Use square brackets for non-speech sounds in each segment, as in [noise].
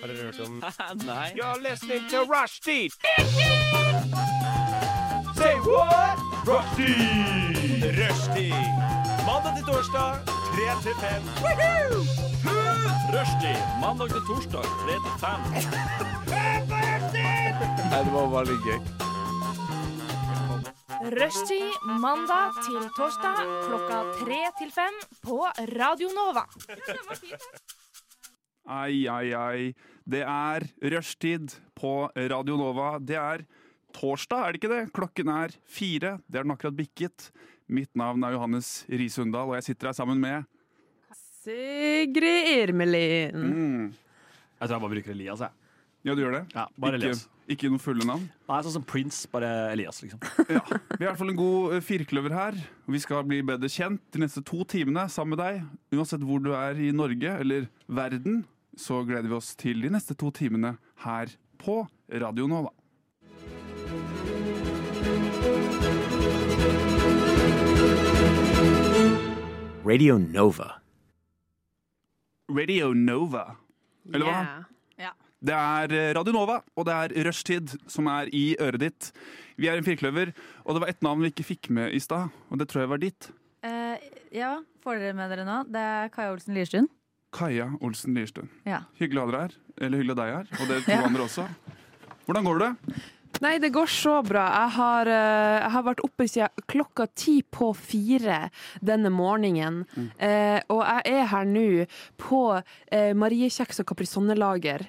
Har dere hørt om Nei. You're listening to Rushdie! Say what? Rushdie! Rushdie! Mandag til torsdag, 3 til 5. Rushdie mandag til torsdag 3 til 5. Rushtid mandag til torsdag klokka tre til fem på Radio Nova. Ai, ai, ai. Det er rushtid på Radio Nova. Det er torsdag, er det ikke det? Klokken er fire. Det er den akkurat bikket. Mitt navn er Johannes Risundal, og jeg sitter her sammen med Sigrid Mm, Irmelin. [laughs] Jeg tror jeg bare bruker Elias, jeg. Ja, du gjør det? Ja, bare ikke, Elias. ikke noe fulle navn? Nei, sånn som Prince, bare Elias, liksom. Ja. Vi er i hvert fall en god eh, firkløver her. Vi skal bli bedre kjent de neste to timene sammen med deg. Uansett hvor du er i Norge eller verden, så gleder vi oss til de neste to timene her på Radio Nova. Radio Nova. Radio Nova. Eller hva? Det er eh, Radio Nova, og det er Rushtid som er i øret ditt. Vi er en firkløver, og det var ett navn vi ikke fikk med i stad, og det tror jeg var ditt. Eh, ja, får dere med dere nå? Det er Kaja Olsen Lierstuen. Kaja Olsen Lierstuen. Ja. Hyggelig å ha dere her. Eller hyggelig at deg her, og dere to andre også. Hvordan går det? Nei, det går så bra. Jeg har, eh, jeg har vært oppe siden klokka ti på fire denne morgenen. Mm. Eh, og jeg er her nå på eh, Marie Kjeks og Kaprisonnelager.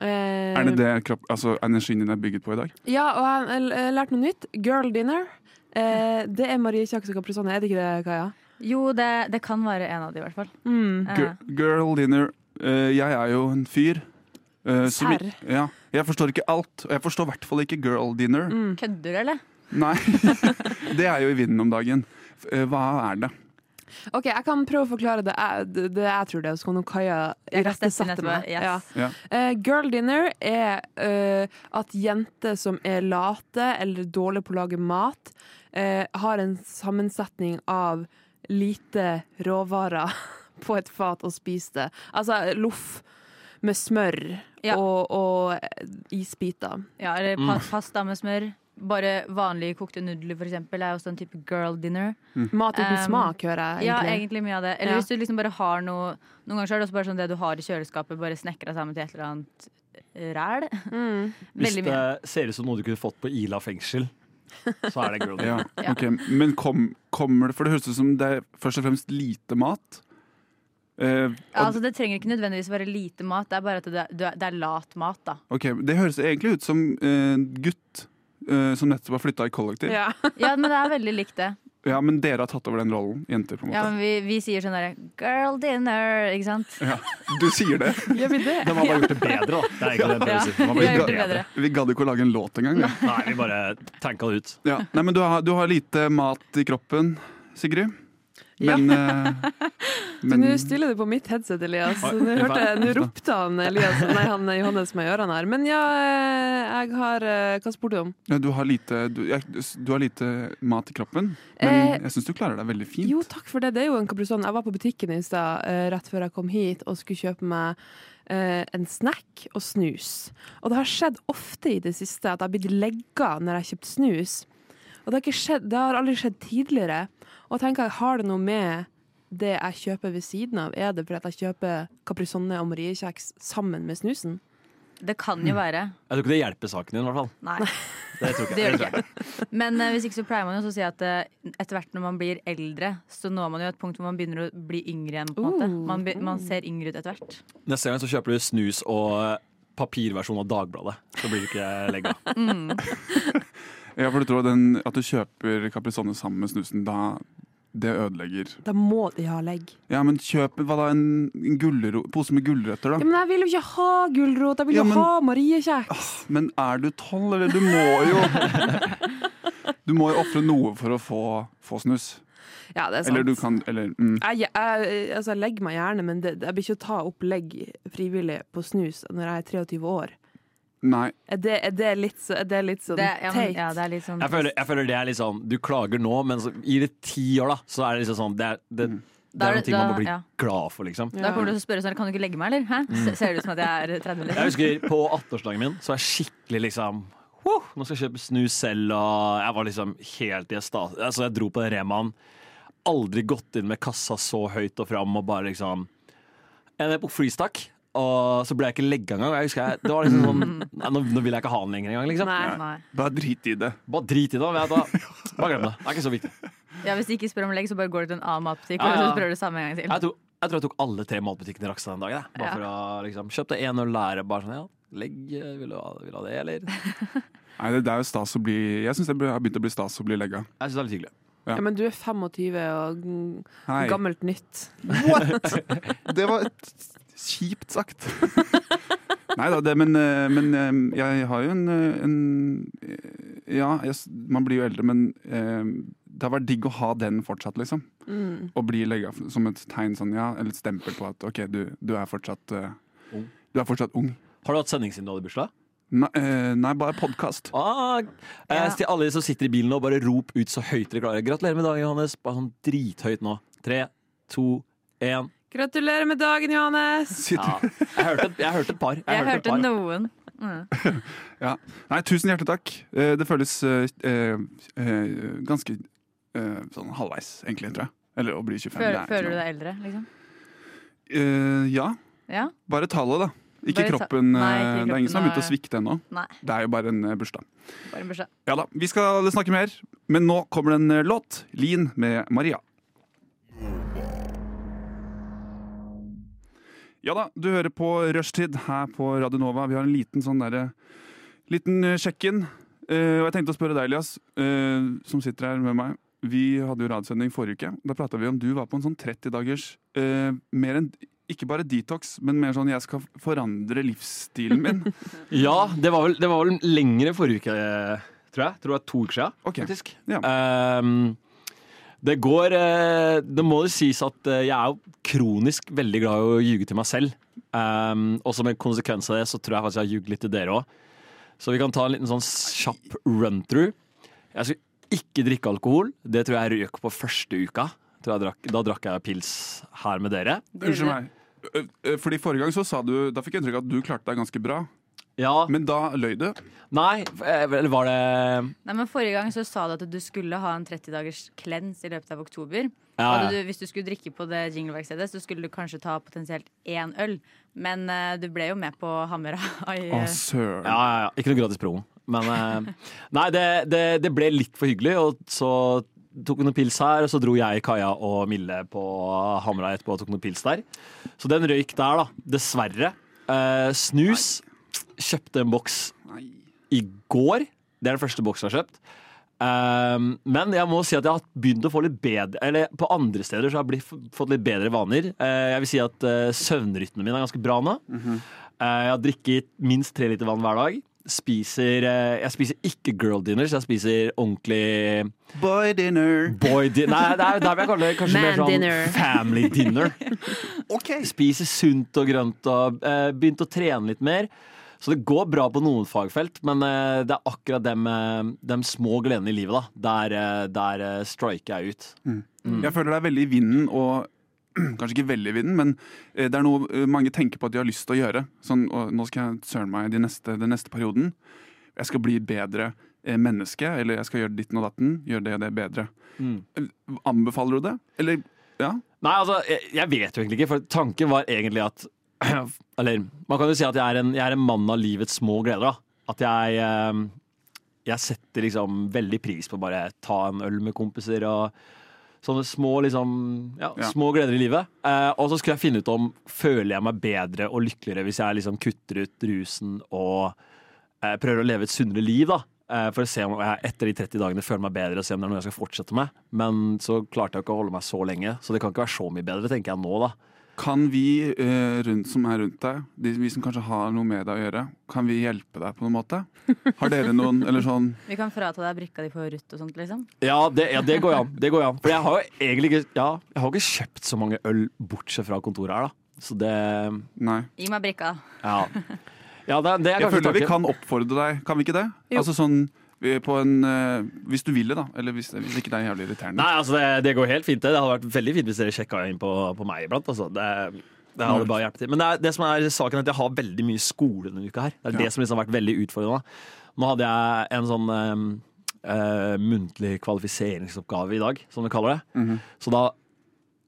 Eh, Er det det kropp, altså, energien din er bygget på i dag? Ja, og jeg har l- lært noe nytt. Girl dinner. Eh, det er Marie Kjeks og Kaprisonne, er det ikke det, Kaja? Jo, det, det kan være en av de, i hvert fall. Mm. Eh, Girl, girl dinner. Eh, jeg er jo en fyr. eh, som- Serr. ja, jeg forstår ikke alt, og jeg forstår i hvert fall ikke girl dinner. Mm. kødder du, eller? Nei, [laughs] det er jo i vinden om dagen. F- eh, hva er det? OK, jeg kan prøve å forklare det jeg, det, det jeg tror det er, så kan jo Jeg Kaja kan steppe inn irettesette etterpå, meg. yes. Ja. Ja. Eh, girl dinner er eh, at jenter som er late eller dårlige på å lage mat, eh, har en sammensetning av lite råvarer [laughs] på et fat og spiser det. Altså loff med smør Ja. og, og isbiter. Ja, eller pa Mm. pasta med smør. Bare vanlige kokte nudler, for eksempel, er også en type girl dinner. Mat uten Um, smak, hører jeg. Ja, egentlig. egentlig mye av det. Eller Ja. hvis du liksom bare har noe Noen ganger så er det også bare sånn det du har i kjøleskapet, bare snekra sammen til et eller annet ræl. Mm. Hvis Veldig det mye. ser ut som noe du kunne fått på Ila fengsel, så er det girl. [laughs] Ja, Ja. ok. Men kom, kommer det For det høres ut som det er først og fremst lite mat. Eh, Ja, og, altså, det trenger ikke nødvendigvis være lite mat, det er bare at det er, du er- det er lat mat, [laughs] da. ok, Det høres egentlig ut som eh, gutt eh, som nettopp har flytta i kollektiv. Ja. Ja. [laughs] Ja, men det er veldig likt det. Men dere har tatt over den rollen, jenter. på en Ja, måte men vi, vi sier sånn derre girl dinner, ikke sant? ja. [laughs] Du sier det. Gjør vi det? De har bare gjort det bedre, da. Det er egentlig det jeg prøver å si. De har Vi bare har gjort gjort det det bedre. bedre. Vi gadd ikke å lage en låt engang. vi. Nei, vi bare tenka det ut. Ja. Nei, men du har, du har lite mat i kroppen, Sigrid. Men, eh, Du, men Nå stiller du på mitt headset, Elias. Oi, Nå jeg hørte jeg, nå vet det. ropte han, Elias, nei, han Johannes meg i ørene her. Men ja, eh, jeg har eh, Hva spurte du om? ja, du, har lite, du, ja, du har lite mat i kroppen, men Eh, jeg syns du klarer deg veldig fint. Jo, takk for det. Det er jo en kaprisonne. Jeg var på butikken i stad eh, rett før jeg kom hit og skulle kjøpe meg eh, en snack og snus. Og det har skjedd ofte i det siste at jeg har blitt legga når jeg har kjøpt snus. Og det har, ikke skjedd, det har aldri skjedd tidligere. Og jeg tenker, har det noe med det jeg kjøper ved siden av? Er det fordi at jeg kjøper kaprisonne og mariekjeks sammen med snusen? Det kan jo være. Jeg tror ikke det hjelper saken din, i hvert fall. Nei. Det tror Det jeg gjør ikke. det ikke. Men eh, hvis ikke så pleier man jo også å si at eh, etter hvert når man blir eldre, så når man jo et punkt hvor man begynner å bli yngre igjen. på en måte. Uh, Man, be man ser yngre ut etter hvert. Neste gang så kjøper du snus og papirversjon av Dagbladet. Så blir du ikke legga. Mm. [laughs] Ja, for du tror den, at du kjøper Caprisonne sammen med snusen, da det ødelegger Da må de ha legg. Ja, men kjøp hva da, en, en gullero- pose med gulrøtter, Ja, da. men jeg vil jo ikke ha gulrot, jeg vil Ja, jo men- ha mariekjeks. Men er du tolv, eller? Du må jo [laughs] Du må jo ofre noe for å få, få snus. Ja, det er sant. Eller du kan Eller mm. Jeg, jeg, altså, jeg legger meg gjerne, men det, jeg blir ikke å ta opp legg frivillig på snus når jeg er 23 år. Nei. Er det, er det, litt, så, er det litt sånn Det, ja, men, teit? ja, det er litt sånn Jeg føler, jeg føler det er liksom Du klager nå, men så, i de ti år, da, så er det liksom sånn Det, er, det, Det er noen ting man må bli ja. glad for, liksom. Da kommer du til å spørre sånn, kan du ikke legge meg, eller? Hæ? Se- Ser det ut som at jeg er 30 Mm. Jeg eller? husker på 18-årsdagen min, så var jeg skikkelig liksom «Wow, Nå skal jeg kjøpe snus selv, og jeg var liksom helt i en stas. Altså, jeg dro på den Remaen. Aldri gått inn med kassa så høyt og fram og bare liksom Jeg er på freestack, og så ble jeg ikke legga engang. Jeg husker jeg, det var liksom sånn Nei, nå, nå vil jeg ikke ha den lenger engang, liksom. Nei. Nei. Bare drit i det. Bare drit i det. vet du hva. Bare glem det. Det er ikke så viktig. Ja, hvis de ikke spør om legg, så bare går du til en annen matbutikk, Ja, og ja. så prøver du samme en gang til. Jeg tror jeg, tror jeg tok alle tre matbutikkene i Rakstad den dagen. Jeg. Bare Ja. for å liksom Kjøpte én og lære bare sånn, ja. Legg, eh, vil du ha, vil du ha det, eller? Jeg Nei, det, det er jo stas å bli Jeg syns det be- har begynt å bli stas å bli legga. syns det er litt hyggelig. Ja. Ja, men du er 25 og mm, Hei. gammelt nytt. What?! [laughs] Det var et kjipt sagt. [laughs] Nei da, det men, eh, men eh, jeg har jo en, eh, en Ja, jeg, s- man blir jo eldre, men eh, det har vært digg å ha den fortsatt, liksom. Mm. Å bli legga f- som et tegn sånn, ja, eller et stempel på at OK, du, du er fortsatt eh, Ung. Du er fortsatt ung. Har du hatt sending siden du hadde bursdag? Nei, eh, nei bare podkast. Ah, eh, Ja. Til alle de som sitter i bilen nå, bare rop ut så høyt dere klarer. Gratulerer med dagen, Johannes. Bare sånn drithøyt nå. Tre, to, én. Gratulerer med dagen, Johannes! [laughs] Ja. Jeg, hørte, et- jeg hørte et par. Jeg, Jeg hørte et hørte par. noen. Mm. Ja. [laughs] Nei, tusen hjertelig takk. Eh, Det føles eh, eh, eh, ganske eh, sånn halvveis, egentlig, tror jeg. Eller å bli 25. Føler, det er ikke føler du noe. deg eldre, liksom? Eh, ja. Ja? Bare tallet, da. Ikke Bare ta- kroppen. Nei, eh, ikke det er ingen som har kroppen begynt å svikte ennå. Nei. Det er jo bare en eh, bursdag. Bare en bursdag. Ja da, vi skal snakke mer, men nå kommer det en eh, låt. Lin med Maria. Ja da, du hører på Rushtid her på Radio Nova. Vi har en liten sånn derre Liten eh, check-in. Eh, og jeg tenkte å spørre deg, Elias, eh, som sitter her med meg. Vi hadde jo radiosending forrige uke. Da prata vi om du var på en sånn 30-dagers eh, Mer enn ikke bare detox, men mer sånn 'jeg skal forandre livsstilen min'. Ja, det var vel, det var vel lengre forrige uke, eh, tror jeg. Tror det var to uker siden, Ok. faktisk. Ja. Ehm, det går eh, Det må jo sies at eh, jeg er jo kronisk veldig glad i å ljuge til meg selv. Ehm, og som en konsekvens av det, så tror jeg faktisk jeg har ljugd litt til dere òg. Så vi kan ta en liten sånn kjapp run-through. Jeg skulle ikke drikke alkohol. Det tror jeg røk på første uka. Tror jeg drakk, da drakk jeg pils her med dere. Unnskyld meg. Ø- ø, Fordi Forrige gang så sa du Da fikk jeg inntrykk av at du klarte deg ganske bra, Ja, men da løy du. Nei, eh, eller var det Nei, men Forrige gang så sa du at du skulle ha en 30-dagers cleanse i løpet av oktober. Ja, Hadde ja. Du, hvis du skulle drikke på det jingleverkstedet, så skulle du kanskje ta potensielt én øl. Men eh, du ble jo med på Hammer'a. i, Å, eh, søren. Ja, ja, ja. Ikke noe gratis promo. Men eh, Nei, det, det, det ble litt for hyggelig, og så tok vi noen pils her, og så dro jeg, Kaja og Mille på Hamra etterpå og tok noen pils der. Så den røyk der, da. Dessverre. Eh, snus. Kjøpte en boks i går. Det er den første boksen jeg har kjøpt. Ehm, men jeg må si at jeg har begynt å få litt bedre Eller på andre steder så har jeg blitt, fått litt bedre vaner. Eh, jeg vil si at uh, søvnrytmen min er ganske bra nå. Eh, jeg har drikket minst tre liter vann hver dag. Spiser, eh, jeg spiser ikke girl dinners, jeg spiser ordentlig Boy dinner. boy dinner. Nei, det er, der vil jeg kalle det kanskje mer Man sånn dinner. family [laughs] dinner. Ok. Spiser sunt og grønt og eh, begynt å trene litt mer. Så det går bra på noen fagfelt, men eh, det er akkurat dem, eh, dem små gledene i livet, da. Der, eh, der eh, striker jeg ut. Mm. Jeg føler det er veldig i vinden og [clears throat] Kanskje ikke veldig i vinden, men eh, det er noe eh, mange tenker på at de har lyst til å gjøre. Sånn, «Å, nå skal jeg søren meg de neste, den neste perioden. Jeg skal bli bedre eh, menneske, eller jeg skal gjøre ditten og datten. Gjøre det og det bedre. Mm. Eh, Anbefaler du det? Eller ja? Nei, altså, jeg, jeg vet jo egentlig ikke, for tanken var egentlig at [clears throat] Eller man kan jo si at jeg er en, jeg er en mann av livets små gleder, da. At jeg, eh, jeg setter liksom veldig pris på bare ta en øl med kompiser og sånne små, liksom, ja, Ja. små gleder i livet. Eh, og så skulle jeg finne ut om føler jeg meg bedre og lykkeligere hvis jeg liksom kutter ut rusen og eh, prøver å leve et sunnere liv, da. Eh, For å se om jeg etter de 30 dagene føler meg bedre og se om det er noe jeg skal fortsette med. Men så klarte jeg ikke å holde meg så lenge, så det kan ikke være så mye bedre, tenker jeg nå, da. Kan vi eh, rundt, som er rundt deg, de, vi som kanskje har noe med deg å gjøre, kan vi hjelpe deg på noen måte? Har dere noen eller sånn Vi kan frata deg brikka di på Ruth og sånt, liksom. Ja, det, ja, det går jo an. Det går jo an. For jeg har jo egentlig ikke, ja, jeg har ikke kjøpt så mange øl bortsett fra kontoret her, da. Så det Nei. Gi meg brikka. Ja. ja det, det er Jeg kanskje føler vi tanken. kan oppfordre deg, kan vi ikke det? Altså sånn eh, på en eh, Hvis du vil det, da. Eller hvis, hvis ikke det er jævlig irriterende. Nei, altså det, det går helt fint. Det Det hadde vært veldig fint hvis dere sjekka inn på, på meg iblant. Altså. Det, det hadde bare hjulpet til. Men det, er, det som er saken er at jeg har veldig mye skole denne uka her. Det er Ja. det som liksom har vært veldig utfordrende. Nå hadde jeg en sånn eh, eh, muntlig kvalifiseringsoppgave i dag, som de kaller det. Så da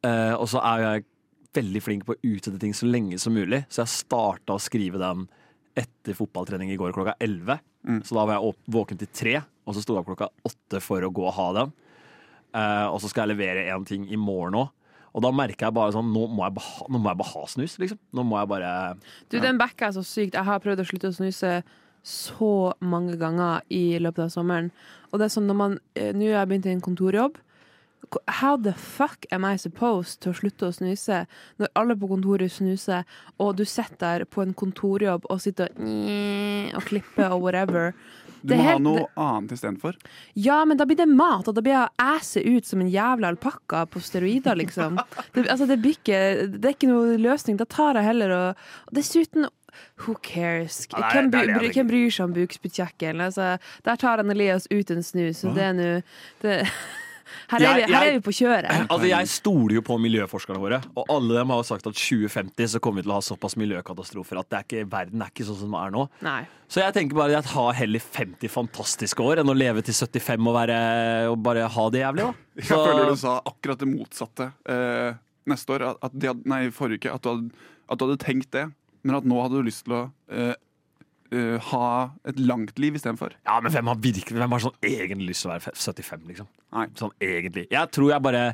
eh, Og så er jeg veldig flink på å utsette ting så lenge som mulig, så jeg starta å skrive den etter fotballtrening i går klokka 11. Så da var jeg åp- våken til tre, og så sto jeg opp klokka åtte for å gå og ha den. Eh, og så skal jeg levere én ting i morgen òg. Og da merker jeg bare sånn Nå må jeg, beha, nå må jeg bare ha snus, liksom. Nå må jeg bare Du, den backa er så sykt. Jeg har prøvd å slutte å snuse så mange ganger i løpet av sommeren. Og det er sånn når man eh, Nå har jeg begynt i en kontorjobb. Ko- How the fuck am I supposed to å slutte å snuse når alle på kontoret snuser, og du sitter der på en kontorjobb og sitter og, og klipper og whatever? Du det må er ha helt- noe annet istedenfor. Ja, men da blir det mat, og da blir jeg å æse ut som en jævla alpakka på steroider, liksom. Det, altså, det, blir ikke, det er ikke noe løsning. Da tar jeg heller og, og Dessuten, who cares? Ja, det er- hvem, det er det jeg bry, bry, tenker. hvem bryr seg om bukspyttkjekken? Altså, der tar han Elias ut en snus, og det er nå det- [laughs] her, er Jeg- vi- her jeg- er vi på [clears throat] kjøret. Altså, jeg stoler jo på miljøforskerne våre, og alle dem har jo sagt at 2050 så kommer vi til å ha såpass miljøkatastrofer at det er ikke, verden er ikke sånn som den er nå. Nei. Så jeg tenker bare at ha heller 50 fantastiske år enn å leve til 75 og, være, og bare ha det jævlig, da. Jeg Så- føler du sa akkurat det motsatte eh, neste år. At, at de hadde, nei, forrige uke. At du, hadde, at du hadde tenkt det, men at nå hadde du lyst til å eh, eh, ha et langt liv istedenfor. Ja, men hvem har virkelig Hvem har sånn egentlig lyst til å være fe- 75, liksom? Nei. Sånn egentlig. Jeg tror jeg bare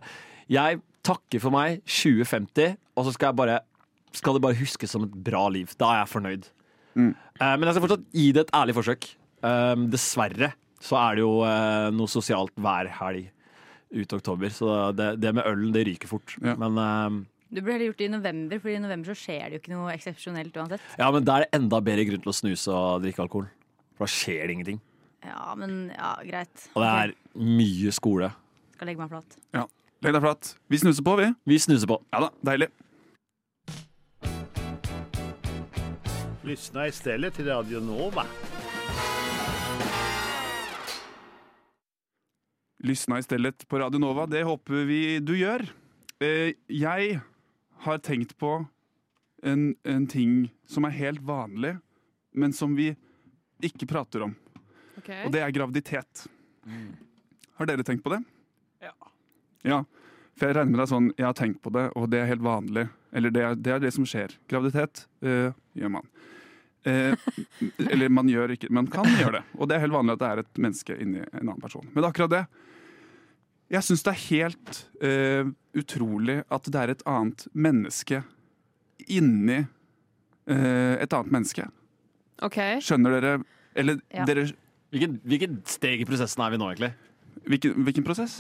Jeg takker for meg 2050, og så skal jeg bare Skal det bare huskes som et bra liv. Da er jeg fornøyd. Mm. Eh, men jeg skal fortsatt gi det et ærlig forsøk. Eh, dessverre så er det jo eh, noe sosialt hver helg ut oktober, så det, det med ølen, det ryker fort. Ja. Men eh, Du burde heller gjort det i november, for i november så skjer det jo ikke noe eksepsjonelt uansett. Ja, men da er det enda bedre grunn til å snuse og drikke alkohol. For da skjer det ingenting. Ja, men ja, greit. Og det er mye skole. Skal legge meg flat. Ja. Legg deg flat. Vi snuser på, vi. Vi snuser på. Ja da, deilig. Lyssna istället till Radio Nova. Lysna i stedet på Radio Nova. Det håper vi du gjør. Eh, jeg har tenkt på en, en ting som er helt vanlig, men som vi ikke prater om. Og det er graviditet. Har dere tenkt på det? Ja. For jeg regner med det er sånn Jeg har tenkt på det, og det er helt vanlig. Eller det er det, er det som skjer. Graviditet eh, gjør man. Eh, [laughs] eller man gjør ikke Man kan gjøre det. Og det er helt vanlig at det er et menneske inni en annen person. Men akkurat det Jeg syns det er helt eh, utrolig at det er et annet menneske inni eh, et annet menneske. OK. Skjønner dere Eller Ja. dere Hvilken, hvilken steg i prosessen er vi nå, egentlig? Hvilken, hvilken prosess?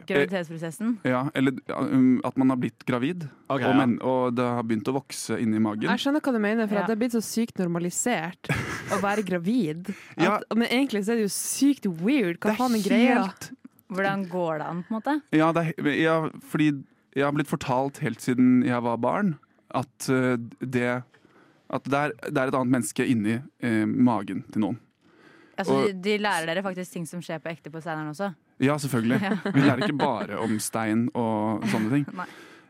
Graviditetsprosessen. Ja, eller um, at man har blitt gravid, Ok, og, ja. men, og det har begynt å vokse inni magen. Jeg skjønner hva du mener, for Ja. at det er blitt så sykt normalisert å være gravid. At, Ja. Men egentlig så er det jo sykt weird. Hva faen er greia? helt- Hvordan går det an, på en måte? Ja, det er, he- ja, fordi jeg har blitt fortalt helt siden jeg var barn at uh, det at det er, det er et annet menneske inni eh, magen til noen. Altså, Og- de, de lærer dere faktisk ting som skjer på ekte på Steineren også. Ja, selvfølgelig. Vi lærer ikke bare om stein og sånne ting. Nei.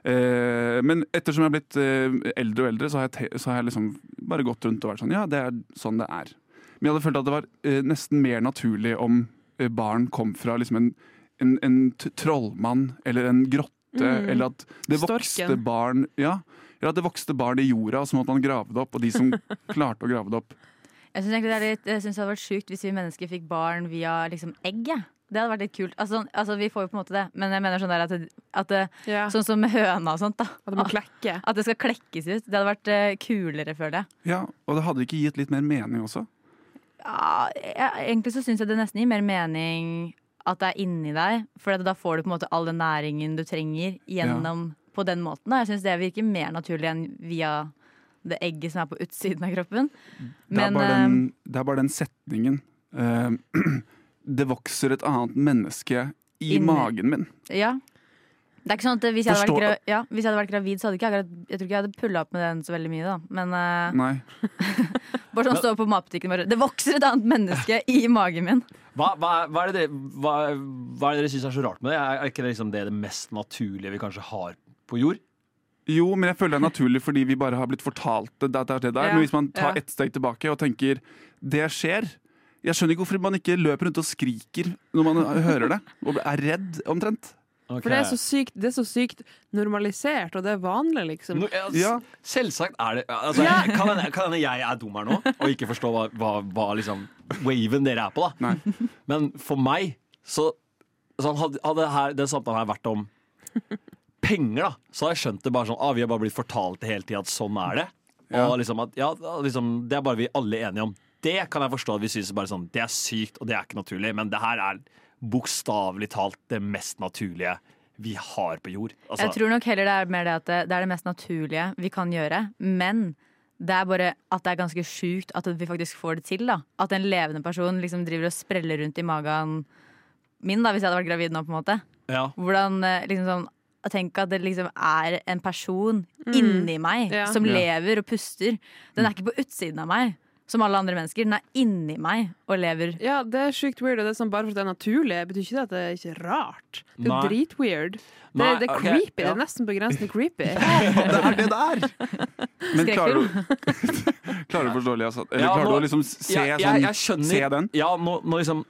Eh, men ettersom jeg har blitt eh, eldre og eldre, så har, jeg te så har jeg liksom bare gått rundt og vært sånn Ja, det er sånn det er. Men jeg hadde følt at det var eh, nesten mer naturlig om eh, barn kom fra liksom en, en, en t trollmann eller en grotte, eller at det vokste Storken. barn Ja. Eller at det vokste barn i jorda, og så måtte man grave det opp. Og de som klarte å grave det opp Jeg syns det, er litt- jeg synes det hadde vært sjukt hvis vi mennesker fikk barn via liksom, egg. jeg. Det hadde vært litt kult. Altså, sånn- altså, vi får jo på en måte det, men jeg mener sånn der at, det- at det, Ja. Sånn som med høna og sånt, da. At det må klekke. At det skal klekkes ut. Det hadde vært eh, kulere, føler jeg. Ja, Og det hadde ikke gitt litt mer mening også? Ja, jeg egentlig så syns jeg det nesten gir mer mening at det er inni deg, for at da får du på en måte all den næringen du trenger gjennom på den måten. Da. Jeg syns det virker mer naturlig enn via det egget som er på utsiden av kroppen. Det er, Men, eh, ehm, bare den, det er bare den setningen. [clears throat] eh, det vokser et annet menneske i Inni. magen min. Ja. Det er ikke sånn at hvis jeg, hadde vært Forstår- gra ja, hvis jeg hadde vært gravid, så hadde ikke jeg akkurat Jeg tror ikke jeg hadde pulla opp med den så veldig mye, da. Men eh, Nei. bare sånn stå på matbutikken og bare Det vokser et annet menneske i magen min. Hva, hva, er- hva er det dere, hva, hva er det dere syns er så rart med det? Er, er ikke det liksom det, det mest naturlige vi kanskje har på jord? Jo, men jeg føler det er naturlig fordi vi bare har blitt fortalt det. det, er det der. Ja, Men hvis man ja. tar ett steg tilbake og tenker det skjer Jeg skjønner ikke hvorfor man ikke løper rundt og skriker når man [laughs] hører det, og er redd omtrent. Ok. For det er, så sykt, det er så sykt normalisert, og det er vanlig, liksom. Nå- ja, s- Ja. Selvsagt er det altså, [laughs] Kan hende kan hende jeg er dum her nå og ikke forstår hva, hva, hva liksom waven dere er på. da Nei. Men for meg så sånn, Hadde, hadde her, den samtalen her vært om penger, da, så hadde jeg skjønt det bare sånn ah, Vi har bare blitt fortalt det hele tida at sånn er det. Ja. Og liksom at, ja, liksom, Det er bare vi alle enige om. Det kan jeg forstå at vi synes bare sånn Det er sykt, og det er ikke naturlig, men det her er bokstavelig talt det mest naturlige vi har på jord. Altså, Jeg tror nok heller det er mer det at det, det er det mest naturlige vi kan gjøre. Men det er bare at det er ganske sjukt at vi faktisk får det til. da At en levende person liksom driver og spreller rundt i magen min, da hvis jeg hadde vært gravid nå. på en måte ja. Hvordan eh, liksom sånn Tenk at det liksom er en person inni meg Mm. Ja. som Ja. Mm. lever og puster. Den er ikke på utsiden av meg, som alle andre mennesker. Den er inni meg og lever. Ja, det er sykt weird, og det er sånn bare for at det er naturlig, betyr ikke det at det er ikke rart. Det er Nei. jo dritweird. Det, Nei, det er ok, creepy. Det ja. er nesten på [laughs] grensen til creepy. Det er det der! [laughs] Men klarer du, [laughs] klarer du å forstå, Elias? Eller Ja, klarer du nå- å liksom se jeg, sånn jeg, jeg skjønner, Se [laughs] den? Ja, nå, nå liksom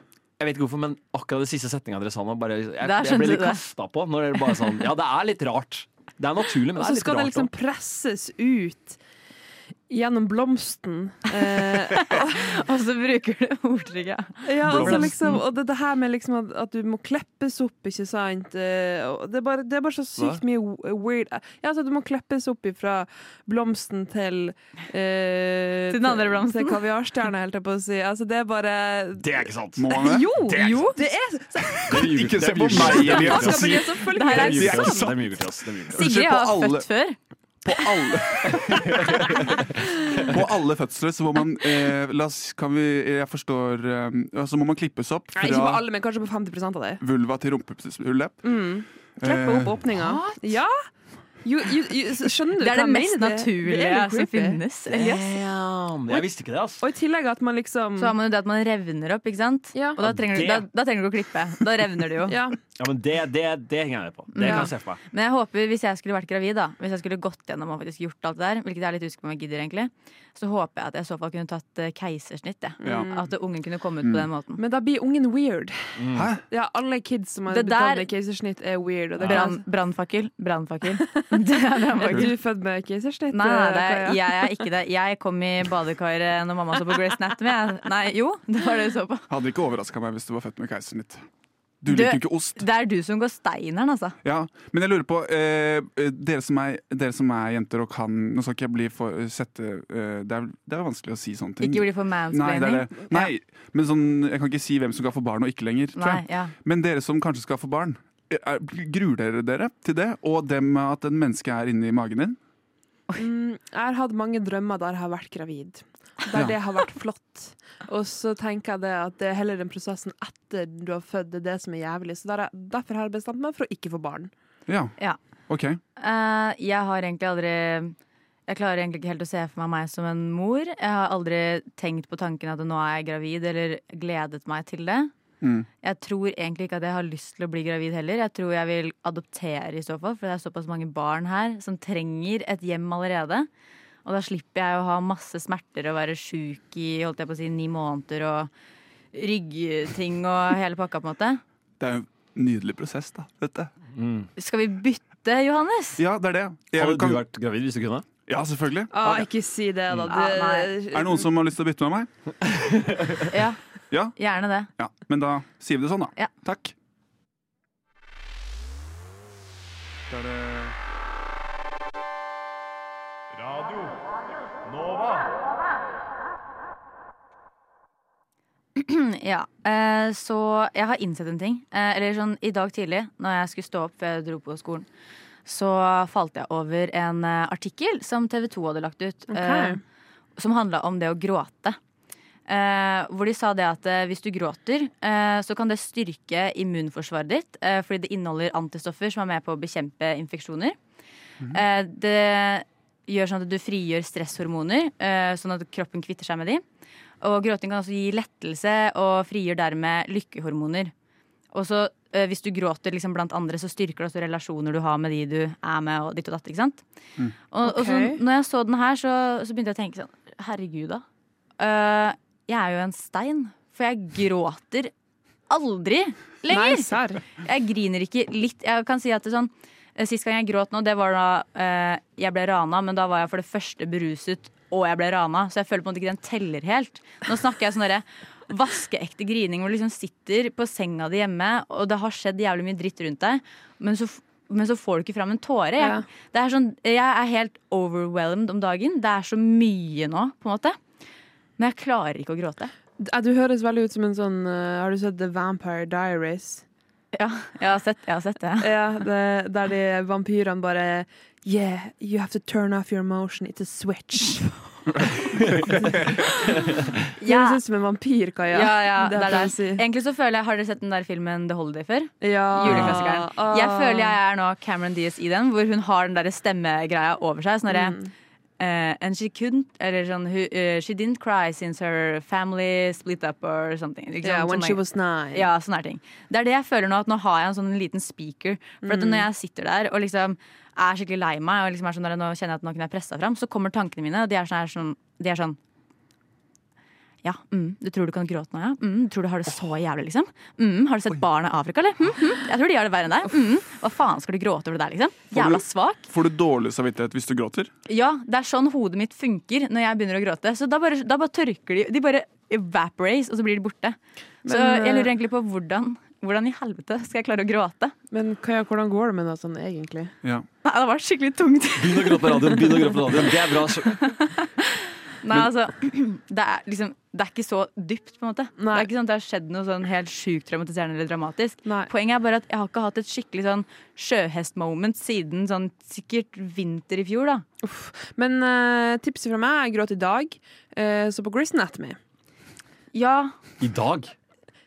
jeg vet ikke hvorfor, men akkurat det siste setninga dere sa nå bare, jeg, Der jeg ble skjønte du litt det. kasta på. Når dere bare sånn Ja, det er litt rart. Det er naturlig, men Og det så er litt skal det rart. liksom Liksom, presses ut gjennom blomsten. [laughs] Eh, [laughs] Og så bruker du ordtrykket. ja, og, så Blomsten. liksom, og det, det her med liksom at, at du må kleppes opp, ikke sant. Eh, og det, er bare, det er bare så sykt mye w- weird Ja, altså, du må kleppes opp fra blomsten til eh, Til den andre blomsten. Til kaviarstjerna, holdt jeg på å si. Altså, det er bare det er ikke sant! Må man det? Jo! Det er- jo, det er Dere ljuger- Ikke se dere på ljuger- meg, dere ljuger Elias. til oss. Skal vi selvfølgelig Dere ljuger Det er til oss. sant. Dere ljuger til oss. Dere ljuger til oss. Sigrid på har alle. født før. På alle [laughs] På alle fødsler så må man eh, La oss, kan vi Jeg forstår eh, ja, Så må man klippes opp Nei, ikke på fra alle, men kanskje på 50 av det. vulva til rumpehullet. Eh, Klippe opp åpninga. Ja! Jo, jo, jo, skjønner du Det er det hva jeg mest mener? Det- det naturlige er litt som creepy. finnes. Elias. Damn, jeg visste ikke det, altså. Og i tillegg at man liksom Så har man jo det at man revner opp, ikke sant? Ja. Og da trenger, Det- du, da, da trenger du å klippe. Da revner [laughs] du jo. ja. Ja, men det, det, det henger jeg med på. Det kan Ja. jeg se for meg. Men jeg håper hvis jeg skulle vært gravid, da Hvis jeg skulle gått gjennom og faktisk gjort alt det der, hvilket jeg er litt usikker på om jeg gidder, egentlig, så håper jeg at jeg i så fall kunne tatt eh, keisersnitt. jeg. Mm. Ja. Mm. At ungen kunne komme ut på den måten. Men da blir ungen weird. Hæ? Ja, alle kids som har Det blitt tatt der- med keisersnitt, er weird. Og det er Brann- Brannfakkel. Brannfakkel. [laughs] Det er klart- brannfakkel. Du er født med [laughs] keisersnitt? Nei, nei, eh, det er, Kaja? jeg er ikke det. Jeg kom i badekaret når mamma så på Grace Anatomy. jeg. Nei, jo, det var det du så på. Hadde ikke overraska meg hvis du var født med keisersnitt. Du Du- liker jo ikke ost. Det er du som går steineren, altså. Ja, Men jeg lurer på eh, eh, dere, som er, dere som er jenter og kan Nå skal ikke jeg bli for, sette eh, det, er, det er vanskelig å si sånne ting. Ikke bli for Nei, det er mansplaining. det. Nei, men sånn, jeg kan ikke si hvem som skal få barn og ikke lenger. Tror Nei, jeg. ja. Men dere som kanskje skal få barn, eh, er, gruer dere dere til det? Og det med at en menneske er inni magen din? Mm, jeg har hatt mange drømmer der jeg har vært gravid. Der Ja. det har vært flott. Og så tenker jeg det at det er heller den prosessen etter du har født, det er det som er jævlig. Så der, er- derfor har jeg bestemt meg for å ikke få barn. Ja. Ja. Ok. Eh, jeg har egentlig aldri Jeg klarer egentlig ikke helt å se for meg meg som en mor. Jeg har aldri tenkt på tanken at nå er jeg gravid, eller gledet meg til det. Mm. Jeg tror egentlig ikke at jeg har lyst til å bli gravid heller. Jeg tror jeg vil adoptere i så fall, for det er såpass mange barn her som trenger et hjem allerede. Og da slipper jeg å ha masse smerter og være sjuk i holdt jeg på å si, ni måneder og ryggting og hele pakka, på en måte. Det er jo en nydelig prosess, da. Dette. Skal vi bytte, Johannes? Ja, det er det. Jeg Hadde kan, du vært gravid hvis du kunne? ja, selvfølgelig. Ah, ikke si det, da. Det, Ah, nei. Er det noen som har lyst til å bytte med meg? Ja, Ja. gjerne det. Ja, Men da sier vi det sånn, da. Ja. Takk. Da er det Radio Nova. [clears throat] Ja, eh, så jeg har innsett en ting. Eh, Eller sånn i dag tidlig, når jeg skulle stå opp før jeg dro på skolen, så falt jeg over en eh, artikkel som TV 2 hadde lagt ut. eh, Som handla om det å gråte. eh, hvor de sa det at eh, hvis du gråter, eh, så kan det styrke immunforsvaret ditt, eh, fordi det inneholder antistoffer som er med på å bekjempe infeksjoner. Eh, det gjør sånn at du frigjør stresshormoner, eh, sånn at kroppen kvitter seg med de. Og gråting kan også gi lettelse og frigjør dermed lykkehormoner. Og så eh, hvis du gråter liksom, blant andre, så styrker det også relasjoner du har med de du er med, og ditt og datt. ikke sant? Og, og så, Ok. når jeg så den her, så, så begynte jeg å tenke sånn Herregud, da. Eh, jeg er jo en stein, for jeg gråter aldri lenger. Nei, serr. Jeg griner ikke litt. Jeg kan si at det er sånn eh, Sist gang jeg gråt nå, det var da eh, jeg ble rana, men da var jeg for det første beruset, og jeg ble rana, så jeg føler på en måte ikke den teller helt. Nå snakker jeg sånn derre vaskeekte grining hvor du liksom sitter på senga di hjemme, og det har skjedd jævlig mye dritt rundt deg, men så, f- men så får du ikke fram en tåre. Jeg, Ja. det er sånn, jeg er helt overwhelmed om dagen. Det er så mye nå, på en måte. Men jeg klarer ikke å gråte. Ja, Du høres veldig ut som en sånn eh, Har du sett The Vampire Diaries? Ja, jeg har sett, jeg har sett det. Ja, det, Der de vampyrene bare Yeah, you have to turn off your emotion. It's a switch. Du Ja. høres ut som en vampyr, Kaja. Ja, ja, Det det er er det jeg der. sier. Egentlig så føler jeg, Har dere sett den der filmen The Holiday før? Ja. Juleklassikeren. Ah. Jeg føler jeg er nå Cameron Diaz i den, hvor hun har den der stemmegreia over seg. Sånn derre Mm. eh, And she couldn't Eller sånn hu- eh, She didn't cry since her family split up or something. Ikke sant? Yeah, when Sånn she der- was nine. ja, sånne her ting. Det er det jeg føler nå, at nå har jeg en sånn liten speaker. For at når jeg sitter der og liksom er skikkelig lei meg, og liksom er sånn der, nå kjenner jeg at nå kunne jeg pressa fram, så kommer tankene mine, og de er sånn, er sånn, de er sånn ja, mm, du tror du kan gråte nå, ja? Mm, du tror du har det så jævlig, liksom? Mm, har du sett barna i Afrika, eller? Mm, mm, jeg tror de har det verre enn deg. Mm, hva faen skal du gråte over det der, liksom? Jævla svak. Får du dårlig samvittighet hvis du gråter? Ja, det er sånn hodet mitt funker når jeg begynner å gråte. Så da bare, da bare tørker de De bare evaporates, og så blir de borte. så Men, eh, jeg lurer egentlig på hvordan Hvordan i helvete skal jeg klare å gråte? Men Kaja, hvordan går det med deg sånn egentlig? Ja. Nei, det var skikkelig tungt. Begynn å gråte på radioen! begynn å gråte på radioen. Det er bra. så- Nei, altså det er, liksom, det er ikke så dypt, på en måte. Det Nei. er ikke sånn at det har skjedd noe sånn helt sjukt traumatiserende eller dramatisk. Nei. Poenget er bare at jeg har ikke hatt et skikkelig sånn sjøhest-moment siden sånn sikkert vinter i fjor, da. Men eh, tipset fra meg er gråt i dag, eh, så på Grey's Anatomy. Ja, I dag?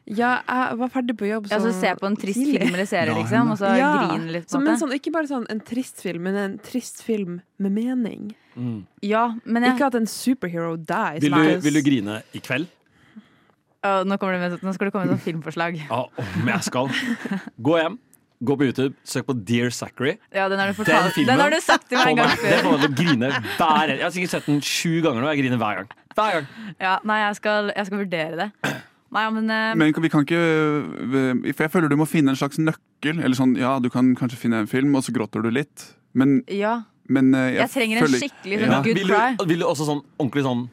Ja, jeg var ferdig på jobb ja så se på en trist tidlig. film eller serie, Ja, liksom, og så [laughs] Ja, grine litt. på en Som en måte. sånn, ikke bare sånn en trist film, men en trist film med mening. Ja, men jeg, Ikke at en superhero dies. Vil du, men- vil du grine i kveld? Å, nå, kommer det med, nå skal det komme et sånt filmforslag. Ja, om jeg skal. Gå hjem, gå på YouTube, søk på Dear Zachary. Ja, den har du Den fortalt. Den, filmen har du sagt til meg en Få gang meg- Det før. får meg til å grine hver Jeg har sikkert sett den sju ganger nå, jeg griner hver gang. Hver gang. Ja, nei, jeg skal, jeg skal vurdere det. Nei, ja, men, eh, Men vi kan ikke For jeg føler du må finne en slags nøkkel. Eller sånn, ja, du kan kanskje finne en film, og så gråter du litt. Men, ja, men eh, jeg, jeg trenger en føler- skikkelig Ja. sånn good Vil cry. du, vil du også sånn ordentlig sånn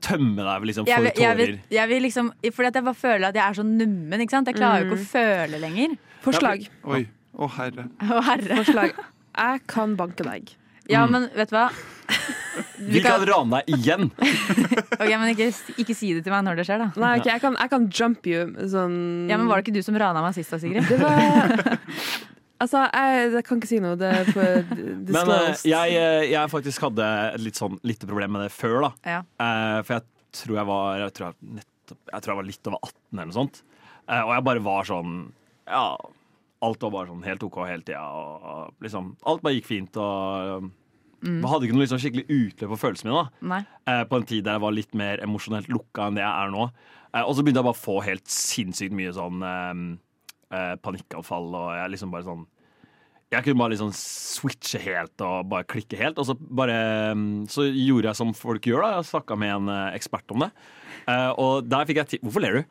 tømme deg liksom, for Jeg vil, jeg, vil, tårer? jeg vil liksom Fordi at jeg bare føler at jeg er så nummen. ikke sant? Jeg klarer jo ikke å Mm. føle lenger. Forslag. Oi. Å, herre. Å, herre. Forslag. Jeg kan banke deg. Ja, Mm. men vet [laughs] du hva? Du Vi kan kan- rane deg [laughs] igjen! Ok, men ikke, ikke si det til meg når det skjer, da. Nei, ok, jeg kan, jeg kan jump you. Sånn Ja, men Var det ikke du som rana meg sist da, [laughs] Sigrid? Det var Altså, jeg, jeg kan ikke si noe. Det er for Men eh, disclosed. jeg, eh, jeg faktisk hadde et litt sånn lite problem med det før, da. Ja. Eh, for jeg tror jeg var jeg tror jeg, nettopp, jeg tror jeg var litt over 18 eller noe sånt. Eh, og jeg bare var sånn Ja, alt var bare sånn helt OK hele tida. Og, og liksom Alt bare gikk fint og Mm. um, Hadde ikke noe liksom skikkelig utløp for følelsene mine. da Nei. eh, på en tid der jeg var litt mer emosjonelt lukka enn det jeg er nå. Eh, og så begynte jeg bare å få helt sinnssykt mye sånn eh, eh, panikkanfall, og jeg liksom bare sånn jeg kunne bare liksom switche helt og bare klikke helt. Og så bare mm, Så gjorde jeg som folk gjør, da. Jeg snakka med en eh, ekspert om det. Eh, og der fikk jeg ti Hvorfor ler du?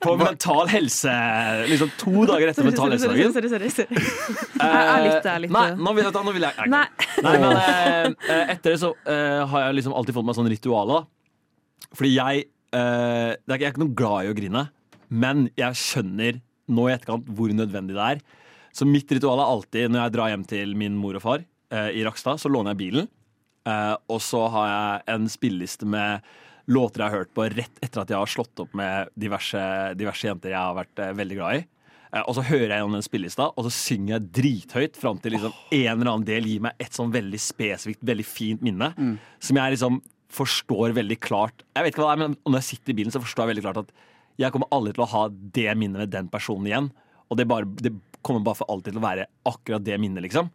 på mental helse Liksom to dager [laughs] etter mental helsedagen. sorry, sorry, sorry. Jeg- jeg likte- jeg likte- Eh, Nei, nå vil jeg, nå vil jeg Nei. Nei, men eh, eh, etter det så eh, har jeg liksom alltid fått meg sånn ritual da. Fordi jeg eh, det er ikke, Jeg er ikke noe glad i å grine, men jeg skjønner nå i etterkant hvor nødvendig det er. Så mitt ritual er alltid når jeg drar hjem til min mor og far eh, i Rakstad, så låner jeg bilen. eh, og så har jeg en spilleliste med låter jeg har hørt på rett etter at jeg har slått opp med diverse, diverse jenter jeg har vært eh, veldig glad i. Eh, Og så hører jeg gjennom den spillelista, og så synger jeg drithøyt fram til liksom en eller annen del gir meg et sånn veldig spesifikt, veldig fint minne. Som jeg liksom forstår veldig klart Jeg vet ikke hva det er, men når jeg sitter i bilen, så forstår jeg veldig klart at jeg kommer aldri til å ha det minnet med den personen igjen. Og det, bare, det kommer bare for alltid til å være akkurat det minnet, liksom.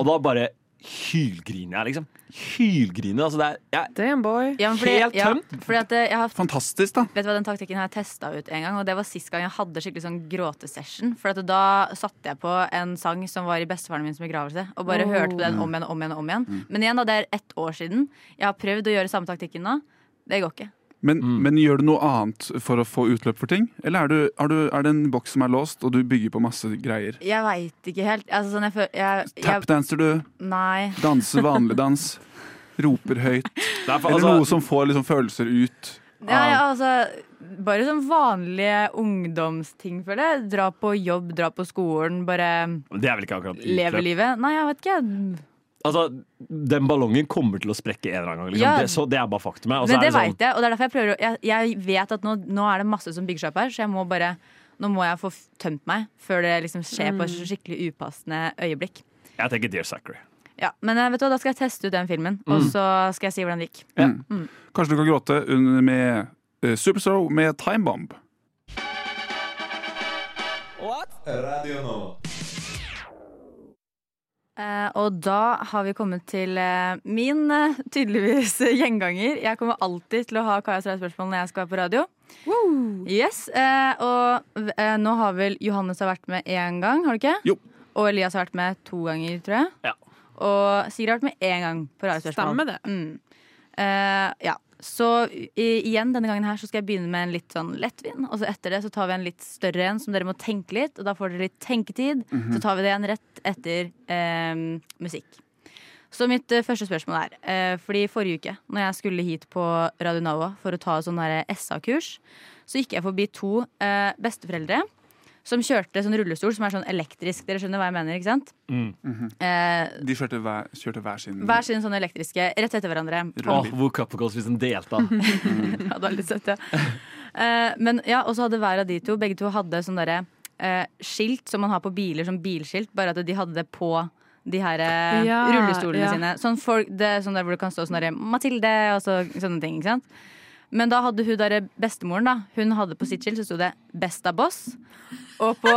Og da bare hylgriner jeg, liksom. Hylgriner. Altså, det er, jeg, Damn, boy. Ja, men fordi, Helt ja, tømt. fordi at eh, jeg har Fantastisk, da. Vet du hva, Den taktikken har jeg testa ut en gang, og det var sist gang jeg hadde skikkelig sånn gråtesession. For at da satte jeg på en sang som var i bestefaren min sin begravelse, og bare Oh. hørte på den om igjen og om igjen. og om igjen Men igjen, da, det er ett år siden. Jeg har prøvd å gjøre samme taktikken nå. Det går ikke. Men, men gjør du noe annet for å få utløp for ting? Eller er, du, er, du, er det en boks som er låst, og du bygger på masse greier? Jeg veit ikke helt. Altså, sånn jeg føler jeg, jeg, Tapdanser du, Nei. danser vanlig dans, [laughs] roper høyt. det er for, Eller altså, noe som får liksom følelser ut. Ja, ja, altså, bare sånn vanlige ungdomsting, føler jeg. Dra på jobb, dra på skolen, bare det er vel ikke akkurat leve utløp. livet. Nei, jeg vet ikke. Altså, den ballongen kommer til å sprekke en eller annen gang. Liksom. Ja. Det, så det er bare faktumet. Og så Men det er det sånn, vet jeg, og det er derfor jeg prøver å Jeg, jeg vet at nå, nå er det masse som bygger seg opp her, så jeg må bare Nå må jeg få f- tømt meg før det liksom skjer på et skikkelig upassende øyeblikk. jeg tenker Dear Zachary. Ja, Men eh, vet du hva, da skal jeg teste ut den filmen, og Mm. så skal jeg si hvordan det gikk. Kanskje du kan gråte under med uh, Supershow med Time Bomb. Eh, og da har vi kommet til eh, min eh, tydeligvis [laughs] gjenganger. Jeg kommer alltid til å ha Kajas spørsmål når jeg skal være på radio. Yes, eh, Og eh, nå har vel Johannes har vært med én gang, har du ikke? Jo. Og Elias har vært med to ganger, tror jeg. Ja. Og Sigrid har vært med én gang på radiospørsmål. Stemmer det. Mm. Eh, ja. Så i, igjen denne gangen her så skal jeg begynne med en litt sånn lettvin. Og så etter det så tar vi en litt større en som dere må tenke litt. Og da får dere litt tenketid. Så tar vi det igjen rett etter eh, musikk. Så mitt eh, første spørsmål er eh, Fordi forrige uke når jeg skulle hit på Radio Nova for å ta et sånn her SA-kurs, så gikk jeg forbi to eh, besteforeldre som kjørte sånn rullestol som er sånn elektrisk. Dere skjønner hva jeg mener, ikke sant? Mm. Eh, De kjørte hver, kjørte hver sin hver sin sånn elektriske rett etter hverandre. Åh, hvor Cupacles hvis den delte. [laughs] Ja, det var litt søtt, ja. Eh, men ja, og så hadde hver av de to, begge to hadde sånn derre eh, skilt som man har på biler, som bilskilt, bare at de hadde det på de her eh, Ja, rullestolene ja. sine. Sånn, folk, det, er sånn der hvor det kan stå sånn derre Mathilde og så, sånne ting, ikke sant. Men da hadde hun derre bestemoren, da. Hun hadde på sitt skilt så sto det 'Besta boss'. Og på,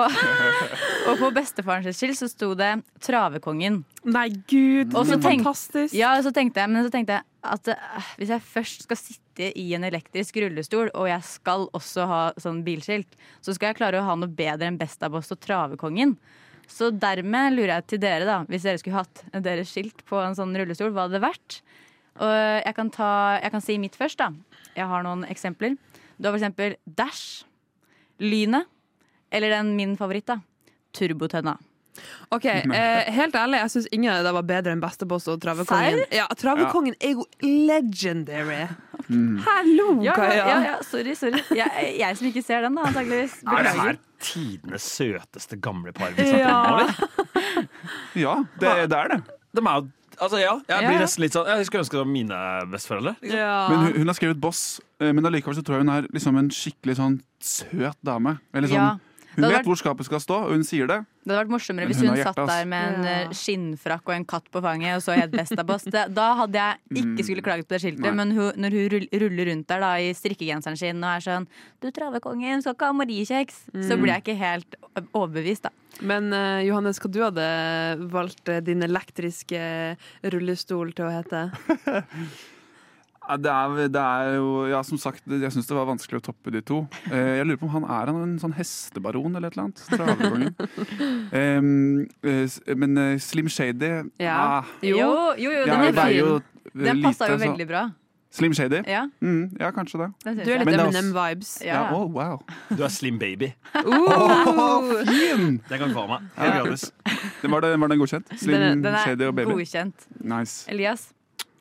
[laughs] og på bestefaren sitt skilt så sto det 'Travekongen'. Nei, gud, Og så så tenk- fantastisk. Ja, og så tenkte jeg, men så tenkte jeg at eh, hvis jeg først skal sitte i en elektrisk rullestol, og jeg skal også ha sånn bilskilt, så skal jeg klare å ha noe bedre enn Best av oss og Travekongen. Så dermed lurer jeg til dere, da, hvis dere skulle hatt deres skilt på en sånn rullestol, hva hadde det vært? Og jeg kan, ta, jeg kan si mitt først, da. Jeg har noen eksempler. Du har for eksempel Dash, Lynet, eller den min favoritt, da. Turbotønna. Ok, eh, Helt ærlig, jeg syns ingen av det var bedre enn Besteboss og Travekongen. Ja, Travekongen er jo legendary. Hallo, Ja, ja, Kaja. ja, ja, sorry, sorry. Jeg, jeg som ikke ser den, da, antakeligvis. Er det Beklager. her tidenes søteste gamle par vi snakker om? Ja. eller? Ja, det, det er det. De er jo Altså, ja. Jeg Ja. blir nesten litt sånn Jeg skulle ønske det var mine besteforeldre. liksom. Ah. Men hun, hun har skrevet Boss, eh, men allikevel så tror jeg hun er liksom en skikkelig sånn søt dame. Eller sånn, Ja. Hun Det hadde vet hvor skapet skal stå, og hun sier det. Det hadde vært morsommere hvis Men hun har hun hjerte, satt der ass. med en eh, Ja. skinnfrakk og en katt på fanget og så het Bestaboss. Det- Da hadde jeg ikke skulle klaget på det skiltet, Mm. Nei. men hun, når hun rull- ruller rundt der da i strikkegenseren sin og er sånn 'Du travekongen, skal ikke ha Mariekjeks', så Mm. blir jeg ikke helt overbevist, da. Men eh, Johannes, hva du hadde valgt eh, din elektriske rullestol til å hete? Ja, Det er, det er jo, ja, som sagt, jeg syns det var vanskelig å toppe de to. Eh, jeg lurer på om han er han en sånn hestebaron eller et eller annet? Travekongen. [laughs] Em, eh, s- men eh, Slim Shady Ja. ah, Jo, jo, jo, jeg den, er veier fin. jo eh, Den lite, sånn. passa jo så- veldig bra. Slim Shady? Ja, Mm, ja, kanskje det. den syns Du er Men jeg. litt det er også- Eminem-vibes. Ja. Ja. å, wow. Du er slim baby. [laughs] Uh, Fin! Det kan du få av meg. Det er Ja. gratis. Det Var, det, var [laughs] den godkjent? Slim Den, den Shady og er Baby? godkjent. Nice. Elias?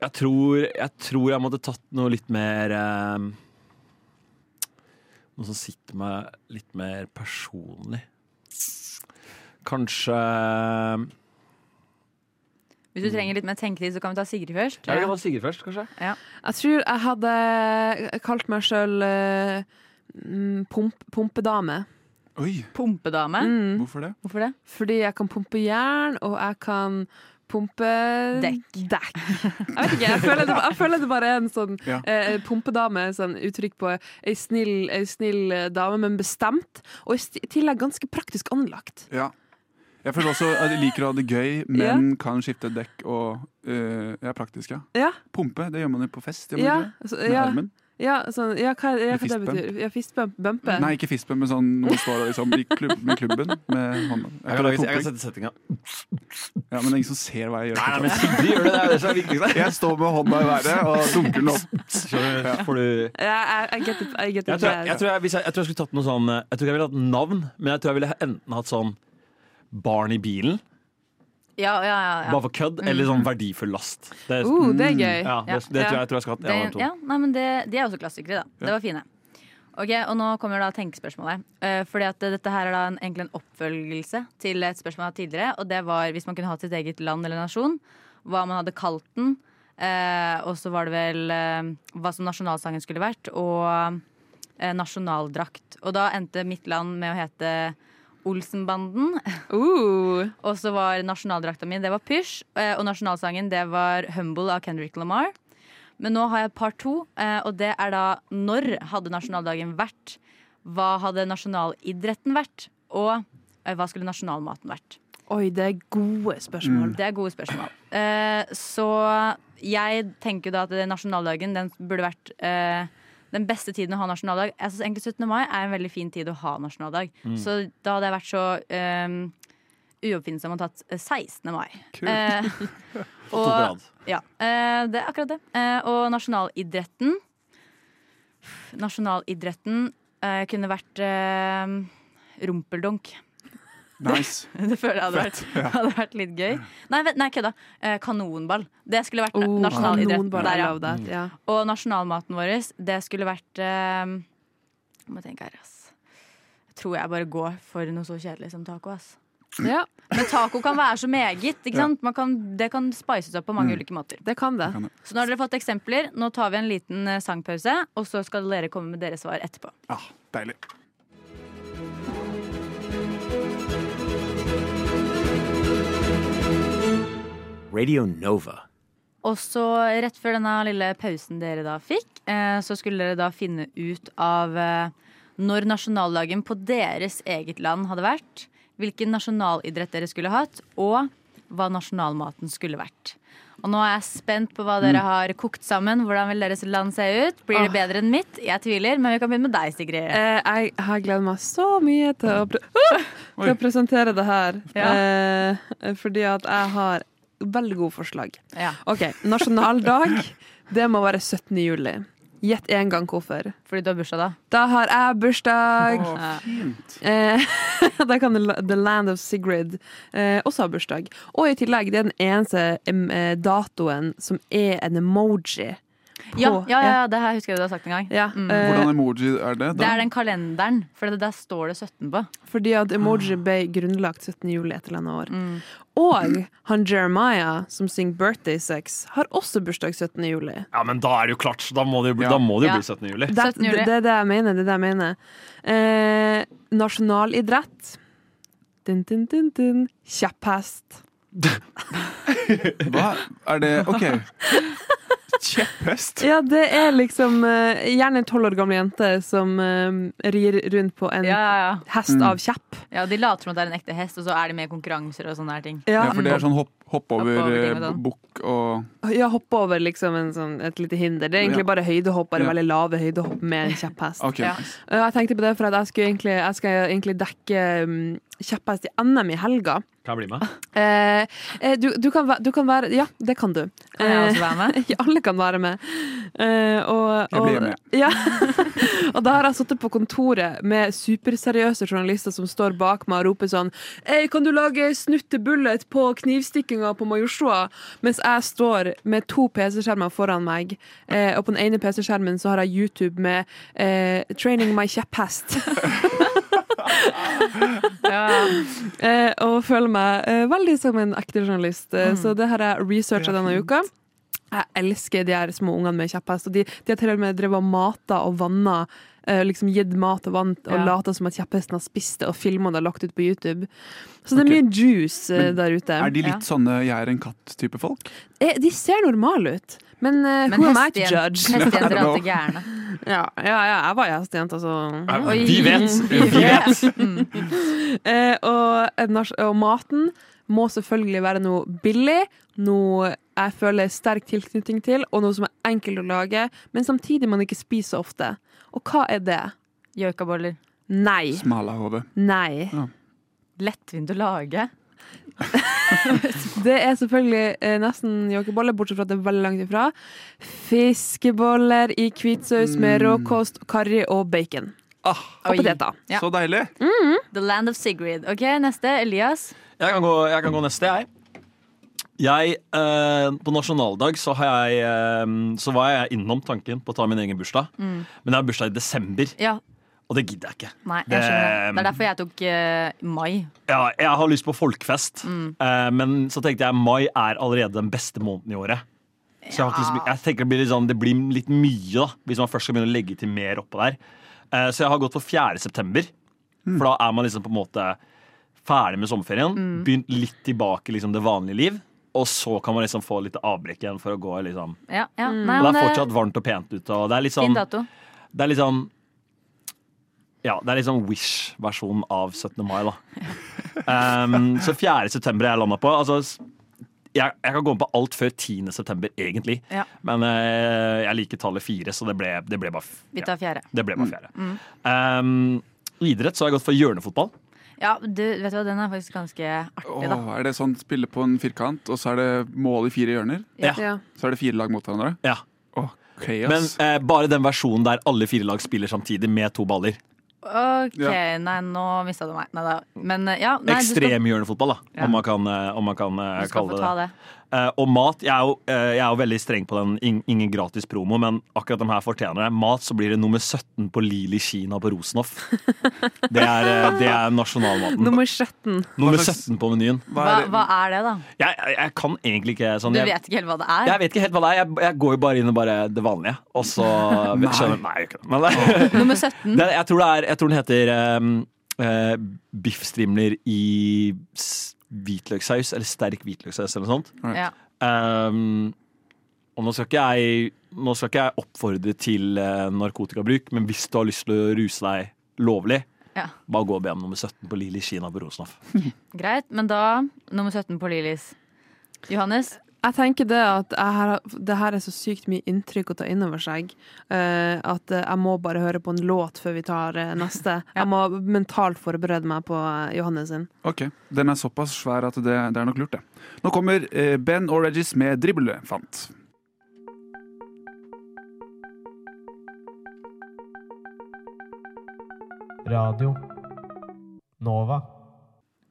Jeg tror jeg, tror jeg måtte tatt noe litt mer eh, Noe som sitter meg litt mer personlig. Kanskje Jeg Hvis Mm. du trenger litt mer tenketid, så kan vi ta Sigrid først. vil ha Sigurd først, kanskje. jeg tror jeg hadde kalt meg sjøl pump, pumpedame. Oi, Pumpedame. Mm. hvorfor det? Hvorfor det? Fordi jeg kan pumpe jern, og jeg kan Pumpedekk. Dekk. Jeg vet ikke, jeg føler det, jeg føler det bare er en sånn Ja. eh, pumpedame, sånn uttrykk på ei snill, ei snill eh, dame, men bestemt, og i st- tillegg ganske praktisk anlagt. Ja. Jeg føler også at jeg liker å ha det gøy, men kan skifte dekk og eh, Jeg er praktisk, ja. Ja, Pumpe, det gjør man jo på fest. Gjør man ja, ikke det? altså, Med ja, armen. ja, sånn, ja, hva, ja, hva det Med betyr Ja, fistbump, bumpe. Nei, ikke fistbump, men sånn når man står liksom, i klubb, med klubben med hånda. Jeg Jeg kan, kaller det lage, jeg kan pumping. sette settinga. Ja, men det er ingen som ser hva jeg gjør. Nei, men [laughs] Sigrid gjør det, det er det som er viktigst. Jeg står med hånda i været og dunker den opp. Så får du Ja, jeg, jeg get it. I get it Jeg tror jeg, there. jeg, tror jeg, hvis jeg, jeg tror jeg skulle tatt noe sånn Jeg tror ikke jeg ville hatt navn, men jeg tror jeg ville enten hatt sånn Barn i bilen, Ja, ja, ja. ja. Mm. bare for kødd, eller sånn verdifull last. Det, er- Uh, det er gøy. ja, det, ja. det tror jeg jeg tror jeg skal ha. Det, Ja, de to. ja, nei, men det, de er også klassikere, da. Det var fine. Ok, Og nå kommer da tenkespørsmålet. Uh, fordi at eh, dette her er da en, egentlig en oppfølgelse til et spørsmål jeg hadde tidligere. Og det var hvis man kunne hatt sitt eget land eller nasjon, hva man hadde kalt den. eh, og så var det vel eh, hva som nasjonalsangen skulle vært, og eh, nasjonaldrakt. Og da endte mitt land med å hete Olsenbanden. [laughs] Uh, Og så var nasjonaldrakta mi, det var pysj. eh, Og nasjonalsangen, det var 'Humble' av Kendrick Lamar. Men nå har jeg par to, eh, og det er da når hadde nasjonaldagen vært? Hva hadde nasjonalidretten vært? Og eh, hva skulle nasjonalmaten vært? oi, det er gode Mm. spørsmål. Det er gode spørsmål. Eh, Så jeg tenker jo da at det- nasjonaldagen den burde vært eh, den beste tiden å ha nasjonaldag. Jeg synes egentlig 17. mai er en veldig fin tid å ha nasjonaldag. Mm. Så da hadde jeg vært så um, uoppfinnsom og tatt eh, 16. mai. [laughs] Eh, To på rad. ja, eh, det er akkurat det. Eh, og nasjonalidretten Nasjonalidretten eh, kunne vært eh, rumpeldunk. [laughs] Nice. Det føler jeg hadde vært, hadde vært litt gøy. Nei, vent, nei kødda. Eh, kanonball. Det skulle vært na- Oh, nasjonalidretten. kanonball, der, I ja. love that. Ja. Og nasjonalmaten vår, det skulle vært eh, Jeg må tenke her, ass. Jeg tror jeg bare går for noe så kjedelig som taco, ass. ja, Men taco kan være så meget. ikke Ja. sant? Man kan, det kan spices opp på mange ulike måter. det kan det. Så nå har dere fått eksempler. Nå tar vi en liten eh, sangpause, og så skal dere komme med deres svar etterpå. Ah, deilig. Radio Nova. Og så rett før denne lille pausen dere da fikk, eh, så skulle dere da finne ut av eh, når nasjonaldagen på deres eget land hadde vært, hvilken nasjonalidrett dere skulle hatt, og hva nasjonalmaten skulle vært. Og nå er jeg spent på hva dere har kokt sammen. Hvordan vil deres land se ut? Blir det Mm. Åh. bedre enn mitt? Jeg tviler, men vi kan begynne med deg, Sigrid. Eh, jeg har gledet meg så mye til å, pre Oi. [laughs] til å presentere det her. Ja. Eh, fordi at jeg har veldig gode forslag. Ja, OK, nasjonaldag. [laughs] det må være 17. juli. Gjett én gang hvorfor. fordi du har bursdag da. Da har jeg bursdag! Å, fint. Eh, [laughs] da kan The- The Land of Sigrid eh, også ha bursdag. Og i tillegg, det er den eneste em, eh, datoen som er en emoji. på- eh, Ja, ja, ja, ja, det her husker jeg du har sagt en gang. ja. eh, Hvordan emoji er det? Det Da? er den kalenderen, for det- der står det 17 på. Fordi at Ah. emoji ble grunnlagt 17. juli et eller annet år. Mm. Og han Jeremiah, som synger 'Birthday Sex', har også bursdag 17. juli. ja, men da er det jo klart, så da må det jo bli, Ja. da må det jo Ja. bli 17. juli. Det, 17. juli. Det, det er det jeg mener. Det er det jeg mener. Eh, nasjonalidrett. Din, din, din, din. Kjepphest. Hva? Er det OK. Kjepphest? Ja, det er liksom eh, gjerne en tolv år gammel jente som eh, rir rundt på en Ja, ja, ja. hest Mm. av kjepp. Ja, De later som at det er en ekte hest, og så er de med i konkurranser og sånne her ting. Ja, Ja, for det er sånn hopp, hopp over, Hopp over ting og eh, sånn. bukk og ja, hoppe over liksom en sånn, et lite hinder. Det er egentlig bare høydehopp, bare Ja. veldig lave høydehopp med en kjepphest. OK. Ja. nice. Ja, Eh, Jeg tenkte på det for at jeg, skulle egentlig, jeg skal egentlig dekke mm, kjepphest i NM i helga. Kan jeg bli med? Eh, eh, du, du, kan, væ- du kan være Ja, det kan du. Kan jeg Eh, også være [laughs] med? [laughs] Ja, alle kan være med. Eh, og, Jeg blir og- med. [laughs] Ja. og da har jeg sittet på kontoret med superseriøse journalister som står bak meg og roper sånn «Ei, Kan du lage snuttebullet på knivstikkinga på Majorstua? Mens jeg står med to PC-skjermer foran meg, eh, og på den ene PC-skjermen så har jeg YouTube med eh, 'Training my kjepphest'. Eh, Mm. og føler meg eh, veldig som en ekte journalist. Eh, Så det har jeg researcha denne uka. Jeg elsker de her små ungene med kjepphest. Og de, de har til og med drevet og mata og vanna. eh, Liksom gitt mat og vann og Ja. lata som at kjepphesten har spist det, og filma det og lagt ut på YouTube. Så det er mye juice eh, Men der ute. Er de Ja. litt sånne jeg er en katt-type folk? Eh, de ser normale ut, men, eh, Men who am I to [laughs] hestejen- judge? hestejenter er Ja. alltid gærne. Ja, ja, ja, jeg var gjestejente, altså. Oi. Vi vet! Vi vet. Eh, og, en nars- og maten må selvfølgelig være noe billig, noe jeg føler sterk tilknytning til, og noe som er enkelt å lage, men samtidig man ikke spiser ofte. Og hva er det? Gjøkaboller. Nei. Smalahove. Nei. Lettvint å lage. Det er selvfølgelig eh, nesten jokkeboller, bortsett fra at det er veldig langt ifra. Fiskeboller i hvitsaus med råkost, karri og bacon. Ah, Og Oi. poteter. Ja. Mm. Så deilig! The land of Sigrid. Ok, neste. Elias. Jeg kan gå, jeg kan gå neste, jeg. Jeg, eh, På nasjonaldag så, har jeg, eh, så var jeg innom tanken på å ta min egen bursdag. Mm. Men jeg har bursdag i desember, Ja, og det gidder jeg ikke. nei, jeg skjønner det. Det er derfor jeg tok eh, mai. Ja, jeg har lyst på folkefest, Mm. eh, men så tenkte jeg mai er allerede den beste måneden i året. Så jeg, har ikke lyst, jeg tenker det blir, litt sånn, det blir litt mye da, hvis man først skal begynne å legge til mer oppå der. Eh, så jeg har gått for 4. september, Mm. for da er man liksom på en måte ferdig med sommerferien. Mm. Begynt litt tilbake liksom, det vanlige liv, og så kan man liksom få litt avbrekk igjen for å gå liksom. Ja, ja. Nei, Og det men eh, er fortsatt varmt og pent ute, og det er litt Fin sånn, dato. det er litt sånn ja, det er litt sånn Wish-versjonen av 17. mai, [laughs] da. Um, så 4. september er jeg landa på. Altså, s- jeg, jeg kan gå med på alt før 10. september, egentlig. Ja. Men eh, jeg liker tallet fire, så det ble, det ble bare f- Vi ja, tar fjerde. det ble bare fjerde. mm. Um, idrett så har jeg gått for hjørnefotball. Ja, du, vet du hva, den er faktisk ganske artig, da. Åh, er det sånn spille på en firkant, og så er det mål i fire hjørner? Ja. Ja. Så er det fire lag mot hverandre? Ja. Åh, Men chaos. eh, bare den versjonen der alle fire lag spiller samtidig med to baller. Ok, Ja. nei, nå mista du meg. Nei da. Men eh, ja, nei, du skal, Ekstrem hjørnefotball, da, Ja. om man kan, eh, om man kan eh, du skal kalle få det ta det. det. Eh, og mat, jeg er, jo, eh, jeg er jo veldig streng på den, ing- ingen gratis promo, men akkurat de her fortjener det. Mat, så blir det nummer 17 på Lili Kina på [laughs] Rosenhoff. Det er, eh, det er nasjonalmaten. Nummer 17. Nummer Hva slags- 17 på menyen. Hva Hva, er det? hva er det, da? Jeg, jeg, jeg kan egentlig ikke sånn. Du Jeg, vet ikke helt hva det er? jeg vet ikke helt hva det er. Jeg, jeg går jo bare inn og bare det vanlige, og så [laughs] Nei. skjønner jeg- Nei, jeg gjør ikke det. Men, Nummer 17. [laughs] det, jeg, tror det er, jeg tror den heter um, eh, biffstrimler i s- hvitløkssaus, eller sterk hvitløkssaus eller noe sånt. Ja. Ehm, og nå skal, ikke jeg, nå skal ikke jeg oppfordre til eh, narkotikabruk, men hvis du har lyst til å ruse deg lovlig, Ja. bare gå og be om nummer 17 på Lili Kina på Rosenhoff. Greit, men da nummer 17 på Lilis. Johannes? Jeg tenker det at jeg her, det her er så sykt mye inntrykk å ta inn over seg. eh, at eh, jeg må bare høre på en låt før vi tar eh, [laughs] neste. Jeg må mentalt forberede meg på eh, Johannes sin. Ok, Den er såpass svær at det, det er nok lurt, det. Nå kommer eh, Ben og Regis med 'Driblefant'. Radio Nova.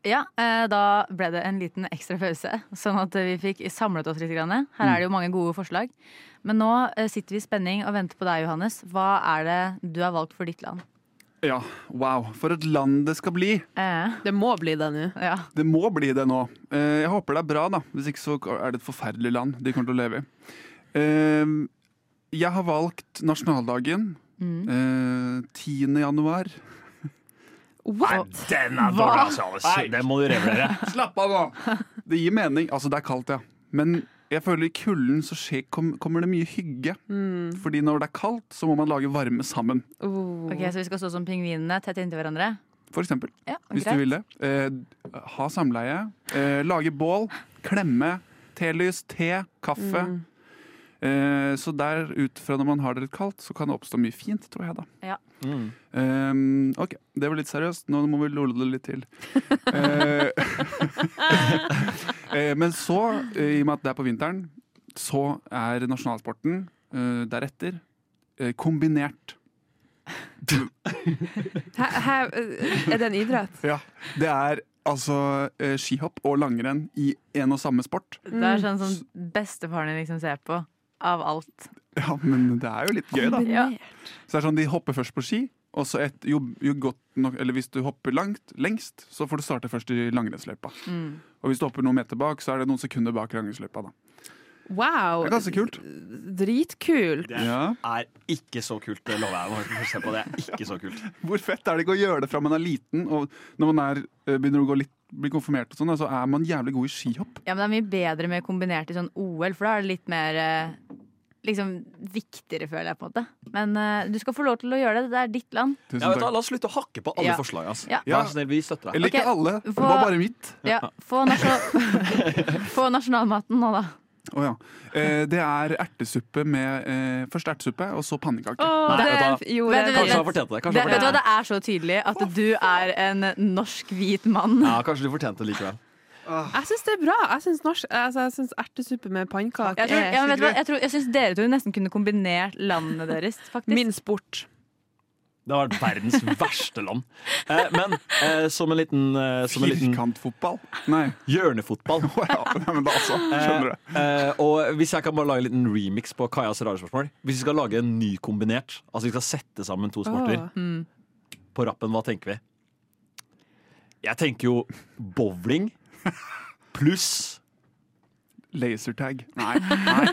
Ja, eh, da ble det en liten ekstra pause, sånn at vi fikk samlet oss litt. Grann. Her er det Mm. jo mange gode forslag. Men nå eh, sitter vi i spenning og venter på deg, Johannes. Hva er det du har valgt for ditt land? Ja, wow. For et land det skal bli! Eh, oh. Det må bli det nå. ja. Det må bli det nå. Eh, Jeg håper det er bra, da. Hvis ikke så er det et forferdelig land de kommer til å leve i. Eh, Jeg har valgt nasjonaldagen. eh, 10. januar. What? Den er Hva? Det må du revurdere. [laughs] [laughs] Slapp av nå! Det gir mening. Altså, det er kaldt, ja. Men jeg føler i kulden så skjer, kom, kommer det mye hygge. Fordi når det er kaldt, så må man lage varme sammen. Oh. Ok, Så vi skal stå som pingvinene tett inntil hverandre? For eksempel. Ja, Hvis greit. du vil det. Eh, ha samleie. Eh, lage bål. Klemme. Telys, te, kaffe. Eh, så der ut fra når man har det litt kaldt, så kan det oppstå mye fint, tror jeg, da. Ja. Mm. Eh, OK, det var litt seriøst. Nå må vi lole det litt til. Eh, [laughs] eh, men så, eh, i og med at det er på vinteren, så er nasjonalsporten eh, deretter eh, kombinert. Hæ- hæ- eh, Er det en idrett? Ja, det er altså eh, skihopp og langrenn i en og samme sport. Det er Mm. sånn som bestefaren din liksom ser på. Av alt. Ja, men det er jo litt gøy, da. Ja. Så det er sånn, De hopper først på ski, og så et, jo, jo godt nok, eller hvis du hopper langt, lengst, så får du Mm. starte først i langrennsløypa. Og hvis du hopper noen meter bak, så er det noen sekunder bak langrennsløypa. da. Wow! Det er ganske kult. Dritkult. Det Ja. er ikke så kult, det lover jeg. Må se på det. det er ikke så kult. Hvor fett er det ikke å gjøre det fra man er liten, og når man er, eh, begynner å gå litt, bli konfirmert, og sånn, da, så er man jævlig god i skihopp. Ja, men det er mye bedre med kombinert i sånn OL, for da er det litt mer eh, Liksom viktigere, føler jeg, på en måte. Men eh, du skal få lov til å gjøre det. Det er ditt land. Tusen Ja, vet du, hva, takk. la oss slutte å hakke på alle Ja. forslag. Altså. Ja. Vær så snill, vi støtter deg. Eller Ok, ikke alle, det hva- var bare mitt. Ja, få, nasjonal [laughs] få nasjonalmaten nå, da. Å ja. eh, det er ertesuppe med eh, Først ertesuppe, og så pannekaker. Nei, Å, det vet gjorde Vent, jeg. vent, Kanskje vent. han fortjente det. Kanskje Det, han vet du fortjente hva, det er så tydelig at du er en norsk hvit mann. det. Ja, kanskje du fortjente det likevel. Jeg syns det er bra. Jeg syns norsk- altså, jeg synes ertesuppe med pannekake Jeg, tror, er ja, men vet du hva, jeg, tror, jeg syns dere to nesten kunne kombinert landene deres, faktisk. min sport. Det har vært verdens verste land. Eh, men eh, som en liten, eh, som en liten Firkantfotball. Nei. hjørnefotball Å ja. [laughs] Nei, men da altså. Skjønner du. Eh, og hvis jeg kan bare lage en liten remix på Kajas rare spørsmål Hvis vi skal lage en ny kombinert, altså vi skal sette sammen to sporter Mm. Åh. på rappen, hva tenker vi? Jeg tenker jo bowling pluss Lasertag. Nei. Nei.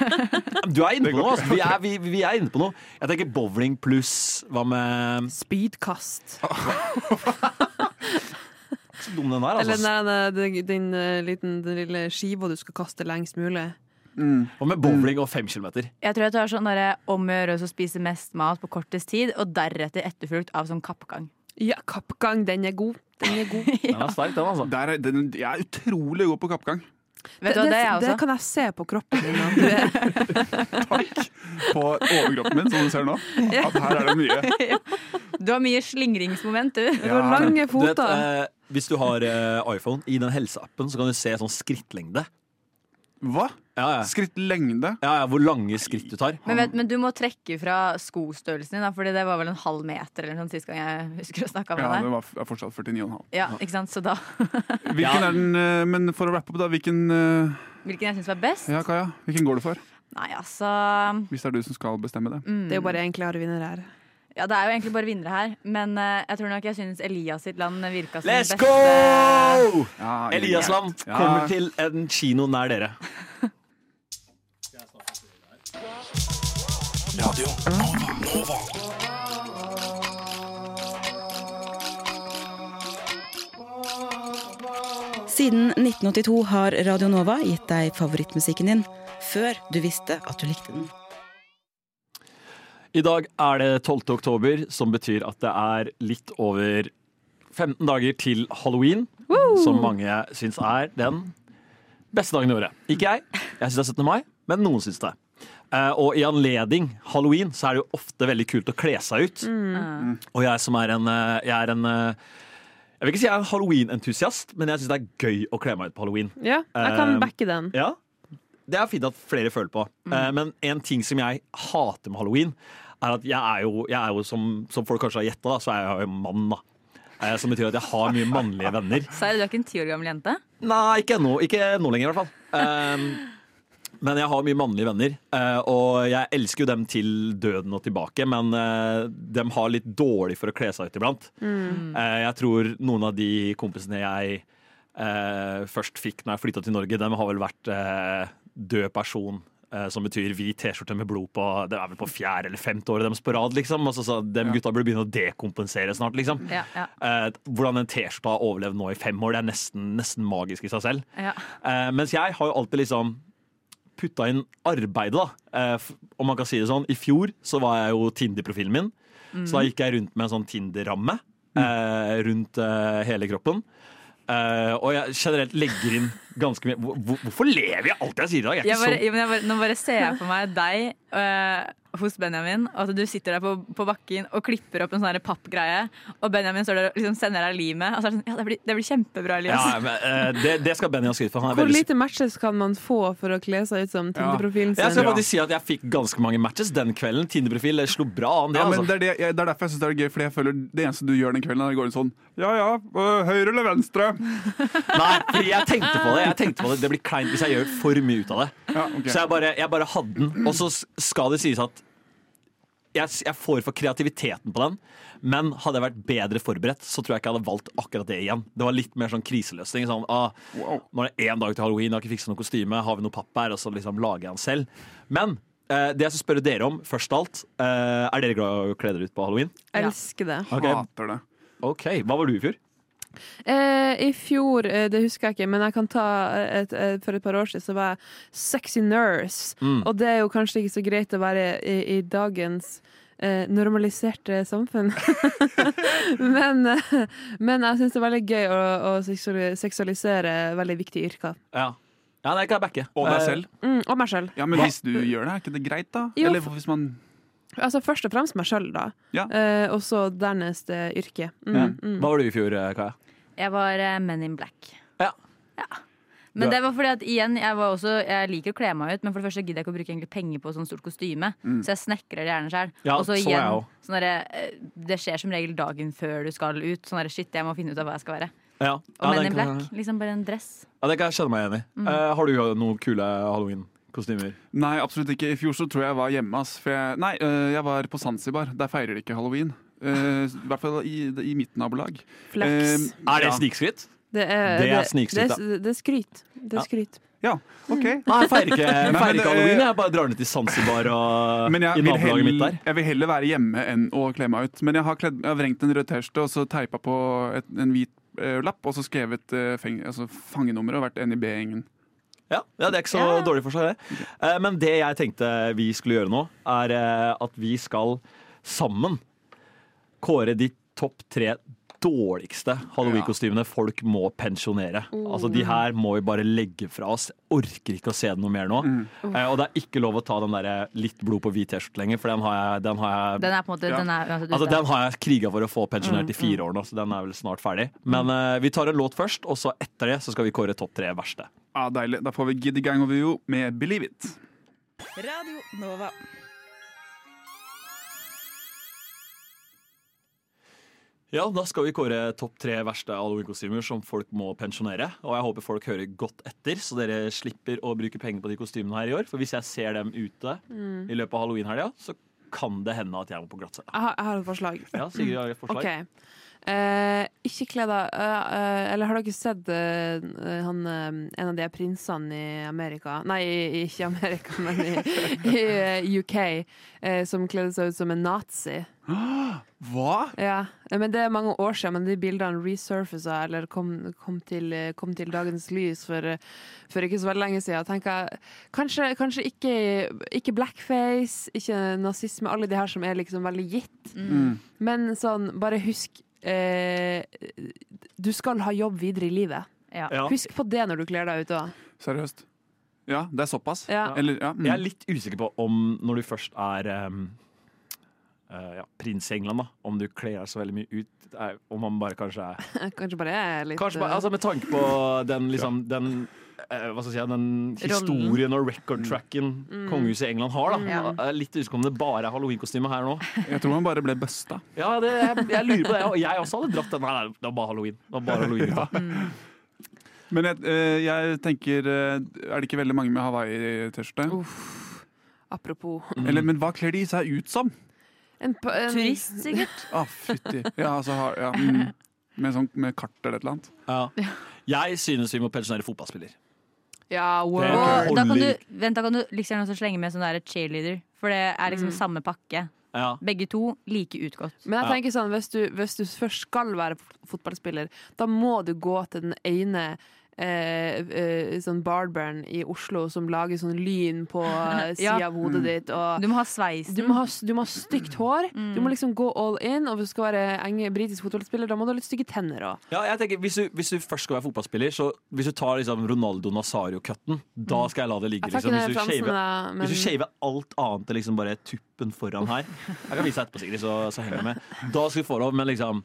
Du er inne Det på går noe, altså. Vi er, vi, vi er inne på noe. Jeg tenker bowling pluss Hva med Spydkast. Så dum den er, altså. Eller den, der, den, den, eh, liten, den lille skiva du skal kaste lengst mulig. Hva med bowling og fem kilometer? Jeg tror jeg tar sånn derre om å gjøre å spise mest mat på kortest tid, og deretter etterfulgt av sånn kappgang. Ja, kappgang, den er god. Den [laughs] er god. Den er sterk, den, altså. Der er, den, jeg er utrolig god på kappgang. Vet du hva, det er jeg det altså? også. kan jeg se på kroppen din. At [laughs] du er. På overkroppen min, som du ser nå. At her er det [laughs] mye. Du har mye slingringsmoment, du. Du har lange Du vet, foter. eh, hvis du har eh, iPhone, i den helseappen så kan du se sånn skrittlengde. Hva? Ja, ja. Skritt lengde? ja, ja hvor lange skritt du tar. Men, vet, men du må trekke fra skostørrelsen din, da, Fordi det var vel en halv meter eller noe sånt sist gang jeg husker å snakke Ja, med det deg. var f- er fortsatt 49,5. Ja, ikke sant? Så da, Hvilken er den, eh, men for å rappe opp, da. Hvilken, eh, Hvilken jeg syns var best? ja, Kaja, hvilken går du for? Nei, altså Hvis det er du som skal bestemme det. Mm. Det er jo bare én klar vinner her. Ja, det er jo egentlig bare vinnere her, men eh, jeg tror nok jeg syns Elias sitt land virka som Let's beste. go! Ja, Eliasland greit. Ja. kommer til en kino nær dere. Siden 1982 har Radio Nova gitt deg favorittmusikken din, før du visste at du likte den. I dag er det 12. oktober, som betyr at det er litt over 15 dager til halloween. Som mange syns er den beste dagen i året. Ikke jeg. Jeg syns det er 17. mai, men noen syns det. Eh, Og i anledning halloween så er det jo ofte veldig kult å kle seg ut. Og jeg som er en, eh, jeg er en eh, Jeg vil ikke si jeg er en halloween-entusiast, men jeg syns det er gøy å kle meg ut på halloween. Ja, jeg kan Eh, backe den. Ja, det er fint at flere føler på. Eh, Men en ting som jeg hater med halloween, er at jeg er jo, jeg er jo som, som folk kanskje har gjetta, så er jeg jo mann, da. Eh, Som betyr at jeg har mye mannlige venner. Sara, du er ikke en ti år gammel jente? Nei, ikke ennå. Ikke nå lenger, i hvert fall. Eh, men jeg har mye mannlige venner, eh, og jeg elsker jo dem til døden og tilbake, men eh, dem har litt dårlig for å kle seg ut iblant. Eh, Jeg tror noen av de kompisene jeg eh, først fikk når jeg flytta til Norge, dem har vel vært eh, død person. eh, Som betyr hvit T-skjorte med blod på Det er vel på fjerde eller femte året deres på rad. liksom altså, så Dem gutta burde begynne å dekompensere snart. liksom Ja, ja, Eh, Hvordan en T-skjorte har overlevd nå i fem år, det er nesten, nesten magisk i seg selv. ja. Eh, mens jeg har jo alltid liksom putta inn arbeidet, da. Eh, f- om man kan si det sånn. I fjor så var jeg jo Tinder-profilen min. Mm. Så da gikk jeg rundt med en sånn Tinder-ramme eh, rundt eh, hele kroppen. Eh, og jeg generelt legger inn ganske mye Hvor- hvor- Hvorfor lever jeg alt jeg sier i dag? Jeg er Jeg ikke bare, så- ja, men jeg bare, nå bare ser jeg for meg deg eh, hos Benjamin, og at du sitter der på, på bakken og klipper opp en sånn her pappgreie, og Benjamin står der og liksom sender deg limet. Og så er det sånn, ja, det blir, det blir kjempebra, Elias. ja, men, eh, det, det skal Benny ha skryt for. Han er Hvor veldig lite matches kan man få for å kle seg ut som Tinder-profilen jeg skal sin? faktisk si at jeg fikk ganske mange matches den kvelden. Tinder-profil det slo bra an, det. Ja, men altså. det, er det, jeg, det er derfor jeg synes det er gøy, Fordi jeg føler det eneste du gjør den kvelden, er å gå inn sånn Ja ja, øh, høyre eller venstre? Nei, fordi jeg tenkte på det. Jeg tenkte på det. det blir kleint hvis jeg gjør for mye ut av det. Ja, ok. Så jeg bare, jeg bare hadde den. Og så s- skal det sies at jeg, jeg får for kreativiteten på den, men hadde jeg vært bedre forberedt, så tror jeg ikke jeg hadde valgt akkurat det igjen. Det var litt mer sånn kriseløsning. Sånn, ah, Nå er det én dag til halloween, jeg har ikke fiksa noe kostyme, har vi noe papp her? Og så liksom lager jeg den selv. Men eh, det jeg skal spørre dere om, først av alt, eh, er dere glad i å kle dere ut på halloween? Elsker det. Ok. Hater det. OK. Hva var du i fjor? Eh, I fjor, eh, det husker jeg ikke, men jeg kan ta eh, et, et, for et par år siden så var jeg sexy nurse. Mm. Og det er jo kanskje ikke så greit å være i, i dagens eh, normaliserte samfunn. [laughs] men, eh, men jeg syns det er veldig gøy å, å seksuali- seksualisere veldig viktige yrker. Ja. ja nei, kan jeg backe. Og deg Eh, selv. Mm, og meg sjøl. Ja, men hvis du gjør det, er ikke det greit, da? Jo, Eller for- hvis man Altså først og fremst meg sjøl, da. Ja. Eh, og så dernest eh, yrket. Mm, ja. mm. Hva var du i fjor, eh, Kaja? Jeg var eh, Men in Black. Ja. Men Du er- det var fordi at igjen, jeg, var også, jeg liker å kle meg ut, men for det første gidder jeg ikke å bruke egentlig penger på sånn stort kostyme. Så jeg snekrer det gjerne sjøl. Mm. Ja, og så så jeg igjen, også. sånn derre, eh, det skjer som regel dagen før du skal ut. Sånn derre, shit, jeg må finne ut av hva jeg skal være. Ja. Og ja, Men den kan- in Black, Mm. liksom bare en dress. Ja, Det kan jeg kjenne meg igjen i. Eh, har du noen kule halloween-kostymer? Nei, absolutt ikke. I fjor så tror jeg jeg var hjemme. Ass, for jeg, nei, øh, jeg var på Zanzibar. Der feirer de ikke halloween. Eh, I hvert fall i, i mitt nabolag. Flex. Eh, Er det ja. snikskritt? det er, det er det, snikskryt, da. det, det er skryt. Det Ja. er skryt. Ja, ok. Nei, jeg feirer ikke, jeg Nei, feirer [laughs] men, ikke halloween. eh, Jeg bare drar ned til Zanzibar og Men jeg i vil, nabolaget mitt heller, der. jeg vil heller være hjemme enn å kle meg ut. Men jeg har, kledd, jeg har vrengt en rød T-skjorte og så teipa på et, en hvit eh, lapp, og så skrevet eh, feng, altså, fangenummeret og vært NIB-gjengen. Ja, ja, Det er ikke så dårlig for seg, det. Eh, Men det jeg tenkte vi skulle gjøre nå, er eh, at vi skal sammen kåre de topp tre dårligste halloween-kostymene folk må pensjonere. Altså, De her må vi bare legge fra oss. Orker ikke å se det noe mer nå. Mm. Eh, Og det er ikke lov å ta den der eh, litt blod på hvit T-skjorte lenger, for den har jeg, den har jeg Den er Mm, på en måte Ja. den er, uansett Altså, ute. den har jeg kriga for å få pensjonert i fire år nå, så den er vel snart ferdig. Men eh, vi tar en låt først, og så etter det så skal vi kåre topp tre verste. Ah, deilig. Da får vi Giddy Gang of You med Believe It. Radio Nova. Ja, da skal vi kåre topp tre verste halloween-kostymer som folk må pensjonere. Og jeg håper folk hører godt etter, så dere slipper å bruke penger på de kostymene her i år. For hvis jeg ser dem ute i løpet av halloweenhelga, så kan det hende at jeg må på glattcelle. Jeg har, jeg har et forslag. Ja, Sigrid har et forslag. Ok. Eh, ikke kle deg eh, eh, Eller har dere sett eh, han, eh, en av de prinsene i Amerika Nei, i- i- ikke i Amerika, [laughs] men i, i eh, UK, eh, som kledde seg ut som en nazi. Hva? Ja, eh, men Det er mange år siden, men de bildene resurfaca eller kom, kom, til, eh, kom til dagens lys for, eh, for ikke så veldig lenge siden. Tenker jeg, kanskje kanskje ikke, ikke blackface, ikke nazisme, alle de her som er liksom veldig gitt. Mm. Men sånn, bare husk eh, Du skal ha jobb videre i livet. ja. Ja. Husk på det når du kler deg ut òg. Seriøst? Ja, det er såpass? Ja. Eller, ja. mm. Jeg er litt usikker på om når du først er um, uh, ja, prins i England, da, om du kler deg så veldig mye ut. Det er- Om man bare kanskje er Kanskje bare jeg er litt eh, Kanskje bare, altså Med tanke på den, liksom, den, eh, hva skal jeg si, den historien Mm. og record-tracken kongehuset i England har, da. Ja. Jeg er Litt usikker om det bare er halloween-kostyme her nå. Jeg tror man bare ble busta. Ja, det, jeg, jeg lurer på det. Og jeg også hadde dratt den. Nei, nei, det var bare halloween. Det var bare halloween gutta. Men jeg, eh, jeg tenker eh, Er det ikke veldig mange med Oh, Hawaii-T-skjorte? eh, Apropos mm. Eller, Men hva kler de seg ut som? en, pa- en, Turist, sikkert. Å, fytti. Ja, altså, har- ja, mm. med, sånn, med kart eller et eller annet. Ja. Jeg synes vi må pensjonere fotballspiller. Ja, Det Og er wow. ikke da kan du, holdning. vent, da kan du like gjerne også slenge med sånn der cheerleader, for det er Mm. liksom samme pakke. Ja. Begge to like utgått. Men jeg Ja. tenker sånn, hvis du, hvis du først skal være f- fotballspiller, da må du gå til den ene eh, eh, sånn barberen i Oslo som lager sånn lyn på sida Ja. av Mm. hodet ditt. Og Du må ha sveisen. du, må ha, s- du må ha stygt hår. Du må liksom gå all in. Og hvis du skal være enge, britisk fotballspiller, da må du ha litt stygge tenner òg. Ja, jeg tenker, hvis du, hvis du først skal være fotballspiller, så hvis du tar liksom Ronaldo Nazario-cutten, da skal jeg la det ligge. Mm. Jeg tar Liksom. Hvis ikke du ned shaver- fransene, da, men Hvis du shaver alt annet enn liksom bare tuppen foran her Jeg kan vise deg etterpå, Sigrid, så, så henger jeg med. Da skal du få lov, men liksom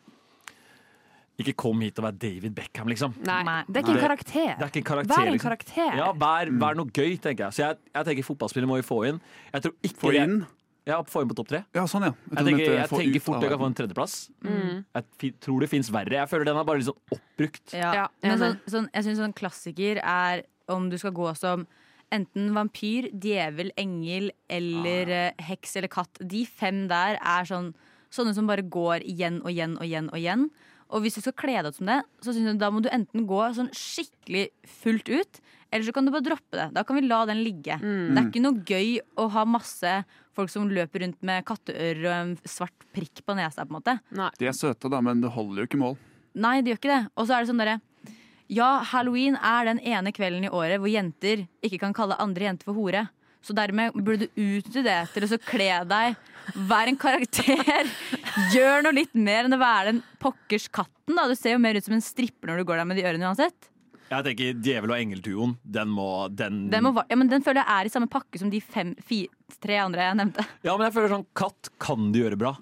Ikke kom hit og vær David Beckham, liksom. Nei, Nei. det er ikke en Nei. karakter. Det er ikke en karakter. Vær en liksom. karakter. Ja, vær, vær noe gøy, tenker jeg. Så jeg, jeg tenker fotballspillere må vi få inn. Jeg tror ikke Få inn. Ja, få inn på topp tre. Ja, sånn, ja. Jeg trodde du tenker, mente jeg få ut tenker fort av jeg kan få verden. en tredjeplass. Jeg fi- tror det fins verre. Jeg føler den er bare liksom oppbrukt. Mm. Ja. Ja, Men enig. sånn, sånn, jeg syns sånn klassiker er om du skal gå som enten vampyr, djevel, engel eller eh, heks eller katt. De fem der er sånn, sånne som bare går igjen og igjen og igjen og igjen. Og hvis du skal kle deg ut som det, så synes jeg da må du enten gå sånn skikkelig fullt ut, eller så kan du bare droppe det. Da kan vi la den ligge. Mm. Det er ikke noe gøy å ha masse folk som løper rundt med katteører og en svart prikk på nesa, på en måte. De er søte, da, men det holder jo ikke mål. Nei, det gjør ikke det. Og så er det sånn derre Ja, halloween er den ene kvelden i året hvor jenter ikke kan kalle andre jenter for hore. Så dermed burde du utnytte det til å så kle deg, være en karakter. [laughs] Gjør noe litt mer enn å være den pokkers katten. da Du ser jo mer ut som en stripper når du går der med de ørene uansett. Jeg tenker Djevel og engel-duoen, den må den... Den, må, va- ja, men den føler jeg er i samme pakke som de fem, fi, tre andre jeg nevnte. Ja, men jeg føler sånn katt kan du gjøre bra.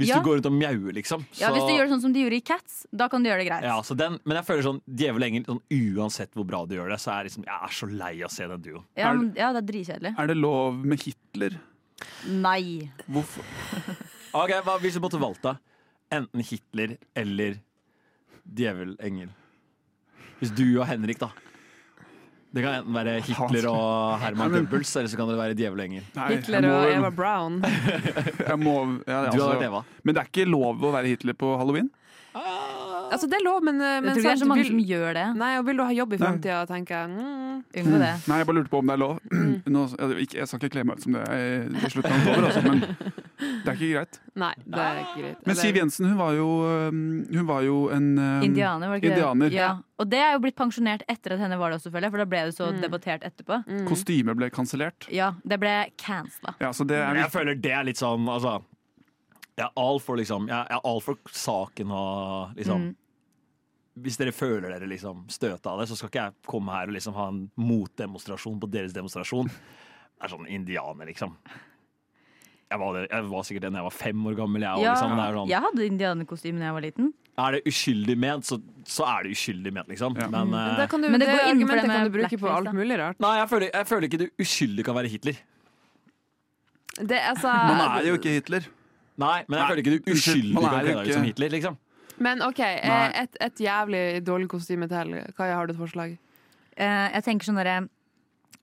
Hvis Ja. du går rundt og mjauer, liksom. Ja, Hvis du gjør det sånn som de gjorde i Cats, da kan du gjøre det greit. ja, så den, men jeg føler sånn djevel og engel, sånn, uansett hvor bra du gjør det, så er jeg liksom, jeg er så lei av å se den duoen. Ja, men, ja det er dritkjedelig. Er det lov med Hitler? Nei. Hvorfor? Ok, hva Hvis du måtte valgt da? Enten Hitler eller djevel engel. Hvis du og Henrik, da. Det kan enten være Hitler [laughs] og Herman Nei, men- Goebbels, eller så kan det være djevel og engel. Hitler og Eva Brown. Jeg må, ja, altså- Du hadde vært Eva. Men det er ikke lov å være Hitler på halloween? Altså, det er lov, men, men tror ikke det er så mange som gjør det. Nei, og Vil du ha jobb i Nei. framtida, tenker jeg. Mm. Nei, jeg bare lurte på om det er [clears throat] lov. Nå, jeg, ikke- jeg skal ikke kle meg ut som det er i slutten av oktober, altså, men det er ikke greit. Nei, det er ikke greit. Men Siv Jensen, hun var jo, øhm, hun var jo en um, Um, øhm, Indianer, var det ikke indianer. det? Ja. Og det er jo blitt pensjonert etter at henne var det også, føler jeg, for da ble det så debattert etterpå. Mm. Kostymet ble kansellert. Ja, det ble cancela. Ja, så det er Men jeg føler det er litt sånn altså, Jeg er all for liksom Jeg er all for saken og liksom Mm. Hvis dere føler dere liksom støta av det, så skal ikke jeg komme her og liksom ha en motdemonstrasjon på deres demonstrasjon. Det er sånn indianer, liksom. Jeg var, det- jeg var sikkert det da jeg var fem år gammel. Jeg, og Ja, liksom, det er, sånn, Jeg hadde indianerkostyme da jeg var liten. er det uskyldig ment, så, så er det uskyldig ment, liksom. Men, eh, Men, da kan du, Men det, det går innenfor det argumentet med kan du bruke på blackface, alt da. mulig rart. nei, jeg føler, jeg føler ikke det uskyldig kan være Hitler. Det, er altså, Man er jo ikke Hitler. Nei, men jeg føler ikke det unnskyld, uskyldig man kan er jo kle deg ut ikke- som Hitler, liksom. Men OK, eh, et, et jævlig dårlig kostyme til. Kaja, har du et forslag? Eh, jeg tenker sånn derre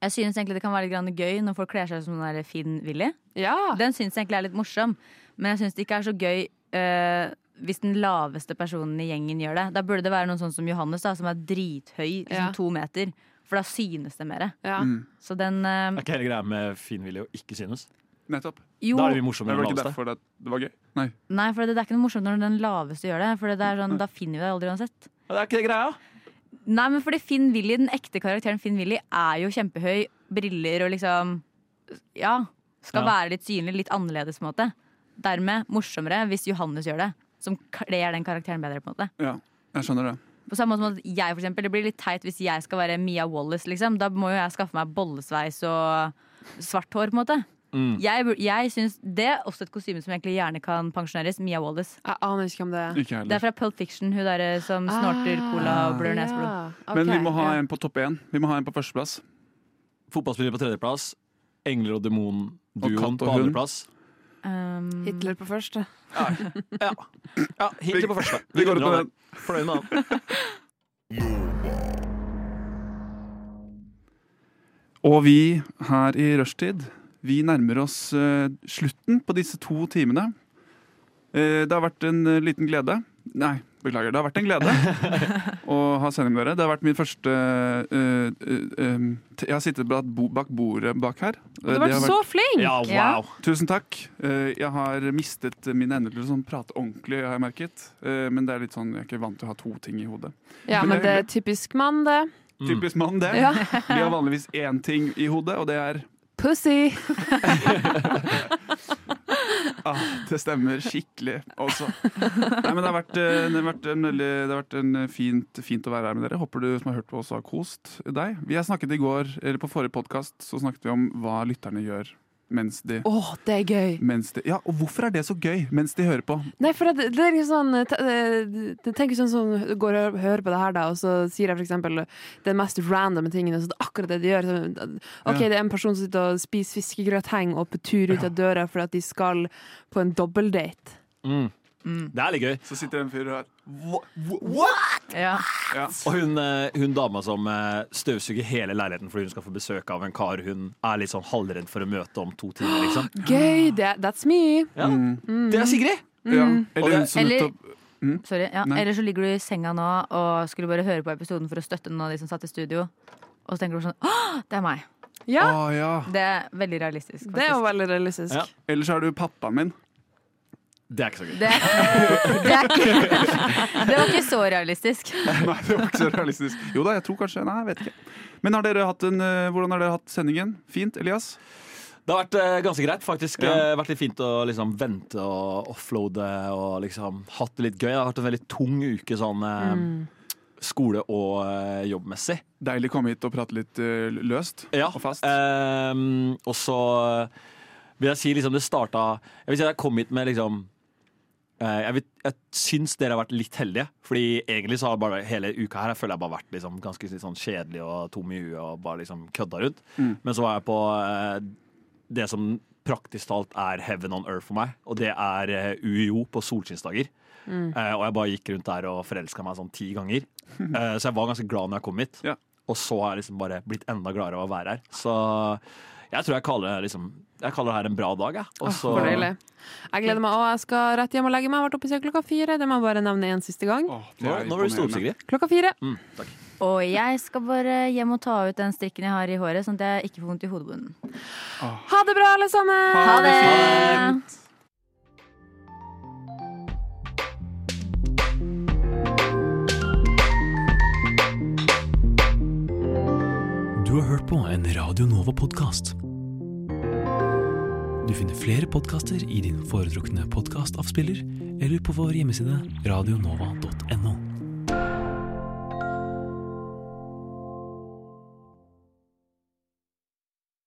jeg synes egentlig det kan være litt grann gøy når folk kler seg som den der Finn-Willy. Den synes jeg egentlig er litt morsom, men jeg synes det ikke er så gøy eh, hvis den laveste personen i gjengen gjør det. Da burde det være noen sånn som Johannes, da, som er drithøy, liksom Ja. to meter. For da synes det mer. Ja. Mm. Så den eh, Er ikke hele greia med finvilje å ikke synes? Nettopp. Jo. Da er det vi morsomme Det var ikke laveste. derfor det, det var gøy. Nei. Nei, for det, det er ikke noe morsomt når den laveste gjør det. For det er sånn, Da finner vi deg aldri uansett. Det er ikke det greia. Nei, men fordi Finn Willy, den ekte karakteren Finn Willy, er jo kjempehøy. Briller og liksom Ja. Ja. Skal være litt synlig, litt annerledes, på en måte. Dermed morsommere hvis Johannes gjør det. Som kler den karakteren bedre, på en måte. Ja, jeg skjønner det. På samme måte som at jeg, for eksempel, det blir litt teit hvis jeg skal være Mia Wallace, liksom. Da må jo jeg skaffe meg bollesveis og svart hår, på en måte. Mm. Jeg, bur- jeg synes Det er også et kostyme som egentlig gjerne kan pensjoneres. Mia Wallace. Jeg aner ikke hvem det er. Ikke Det heller. er fra Pulp Fiction, hun der som snorter cola og blør Ja, neseblod. ok, Men vi må ha ja. en på topp én. Vi må ha en på førsteplass. Fotballspiller på tredjeplass. Engler og Og demon-duoen katt og på hund. andreplass. Um, Hitler på første. Ja, Hitler på første. Vi går ut med den. Fornøyd med han. Og vi her i rushtid, vi nærmer oss eh, slutten på disse to timene. Eh, det har vært en eh, liten glede. Nei, beklager. Det har vært en glede [laughs] å ha sending med dere. Det har vært min første eh, eh, eh, t- Jeg har sittet bak, bo, bak bordet bak her. Eh, Du har vært så flink! [laughs] Ja, Ja. wow. Tusen takk. Eh, Jeg har mistet mine evner til å sånn prate ordentlig, har jeg merket. Eh, Men det er litt sånn, jeg er ikke vant til å ha to ting i hodet. Ja, men det er typisk mann, det. Typisk mann, det. Ja. Vi har vanligvis én ting i hodet, og det er Pussy! Ah, det stemmer skikkelig også. Nei, men det har vært, eh, det har vært, en, veldig, det har vært en eh, fint, fint å være her med dere. Håper du som har hørt på oss har kost deg. Vi har snakket i går, eller På forrige podkast snakket vi om hva lytterne gjør mens de, Å, det er gøy! mens de Ja, og hvorfor er det så gøy mens de hører på? Nei, for det, det er ikke sånn te- eh, det- Tenk sånn som går og hø- hører på det her, da, og så sier jeg for eksempel den mest randome tingen, og så det er akkurat det de gjør. Sånn, Ja. OK, det er en person som sitter og spiser fiskegrøtheng og på tur ut av døra fordi at de skal på en dobbeldate. Mm. Det er litt gøy. Så sitter det en fyr her. Ja. Ja. Og hun, eh, hun dama som eh, støvsuger hele leiligheten fordi hun skal få besøk av en kar hun er litt sånn halvredd for å møte om to timer. liksom Gøy! Det, that's me. [gasps] ja. Mm. Det er Sigrid! Ja. Eller hun som Eller- nettopp Sorry, ja. Nei. Eller så ligger du i senga nå og skulle bare høre på episoden for å støtte noen av de som satt i studio. Og så tenker du sånn Åh, det er meg! Ja, Å Ah, ja. Det er veldig realistisk, det er jo faktisk. veldig realistisk. Ja. Eller så er du pappaen min. [laughs] Det er ikke så gøy. Det, [laughs] det, er ikke, det var ikke [laughs] så realistisk. Nei, det var ikke så realistisk. Jo da, jeg tror kanskje Nei, jeg vet ikke. Men har dere hatt en, eh, hvordan har dere hatt sendingen? Fint, Elias? Det har vært eh, ganske greit, faktisk. Ja. Eh, vært litt fint å liksom vente og offloade og liksom hatt det litt gøy. Det har vært en veldig tung uke sånn eh, skole- og eh, jobbmessig. Deilig å komme hit og prate litt eh, løst Ja. eh, og fast. Ehm, og så vil jeg si liksom det starta Jeg vil si at jeg kom hit med liksom eh, jeg, vil, jeg syns dere har vært litt heldige, Fordi egentlig så har bare hele uka her Jeg føler jeg bare vært liksom ganske litt sånn kjedelig og tom i huet og bare liksom kødda rundt. Mm. Men så var jeg på eh, det som praktisk talt er heaven on earth for meg, og det er eh, UiO på solskinnsdager. Eh, og jeg bare gikk rundt der og forelska meg sånn ti ganger. Eh, så jeg var ganske glad når jeg kom hit. Ja. Og så har jeg liksom bare blitt enda gladere av å være her. Så jeg tror jeg kaller det liksom Jeg kaller det her en bra dag, jeg. Og så For deilig. Jeg gleder meg òg. Jeg skal rett hjem og legge meg. Jeg ble oppe i seg klokka fire. Det må jeg bare nevne en siste gang. Åh, det Nå er nå var du stor, imponerende. Sigrid. Klokka fire. Mm, takk. Og jeg skal bare hjem og ta ut den strikken jeg har i håret, sånn at jeg ikke får vondt i hodebunnen. Ha det bra, alle sammen! Ha det! Du har hørt på en Radio Nova-podkast. Du finner flere podkaster i din foretrukne podkastavspiller eller på vår hjemmeside radionova.no.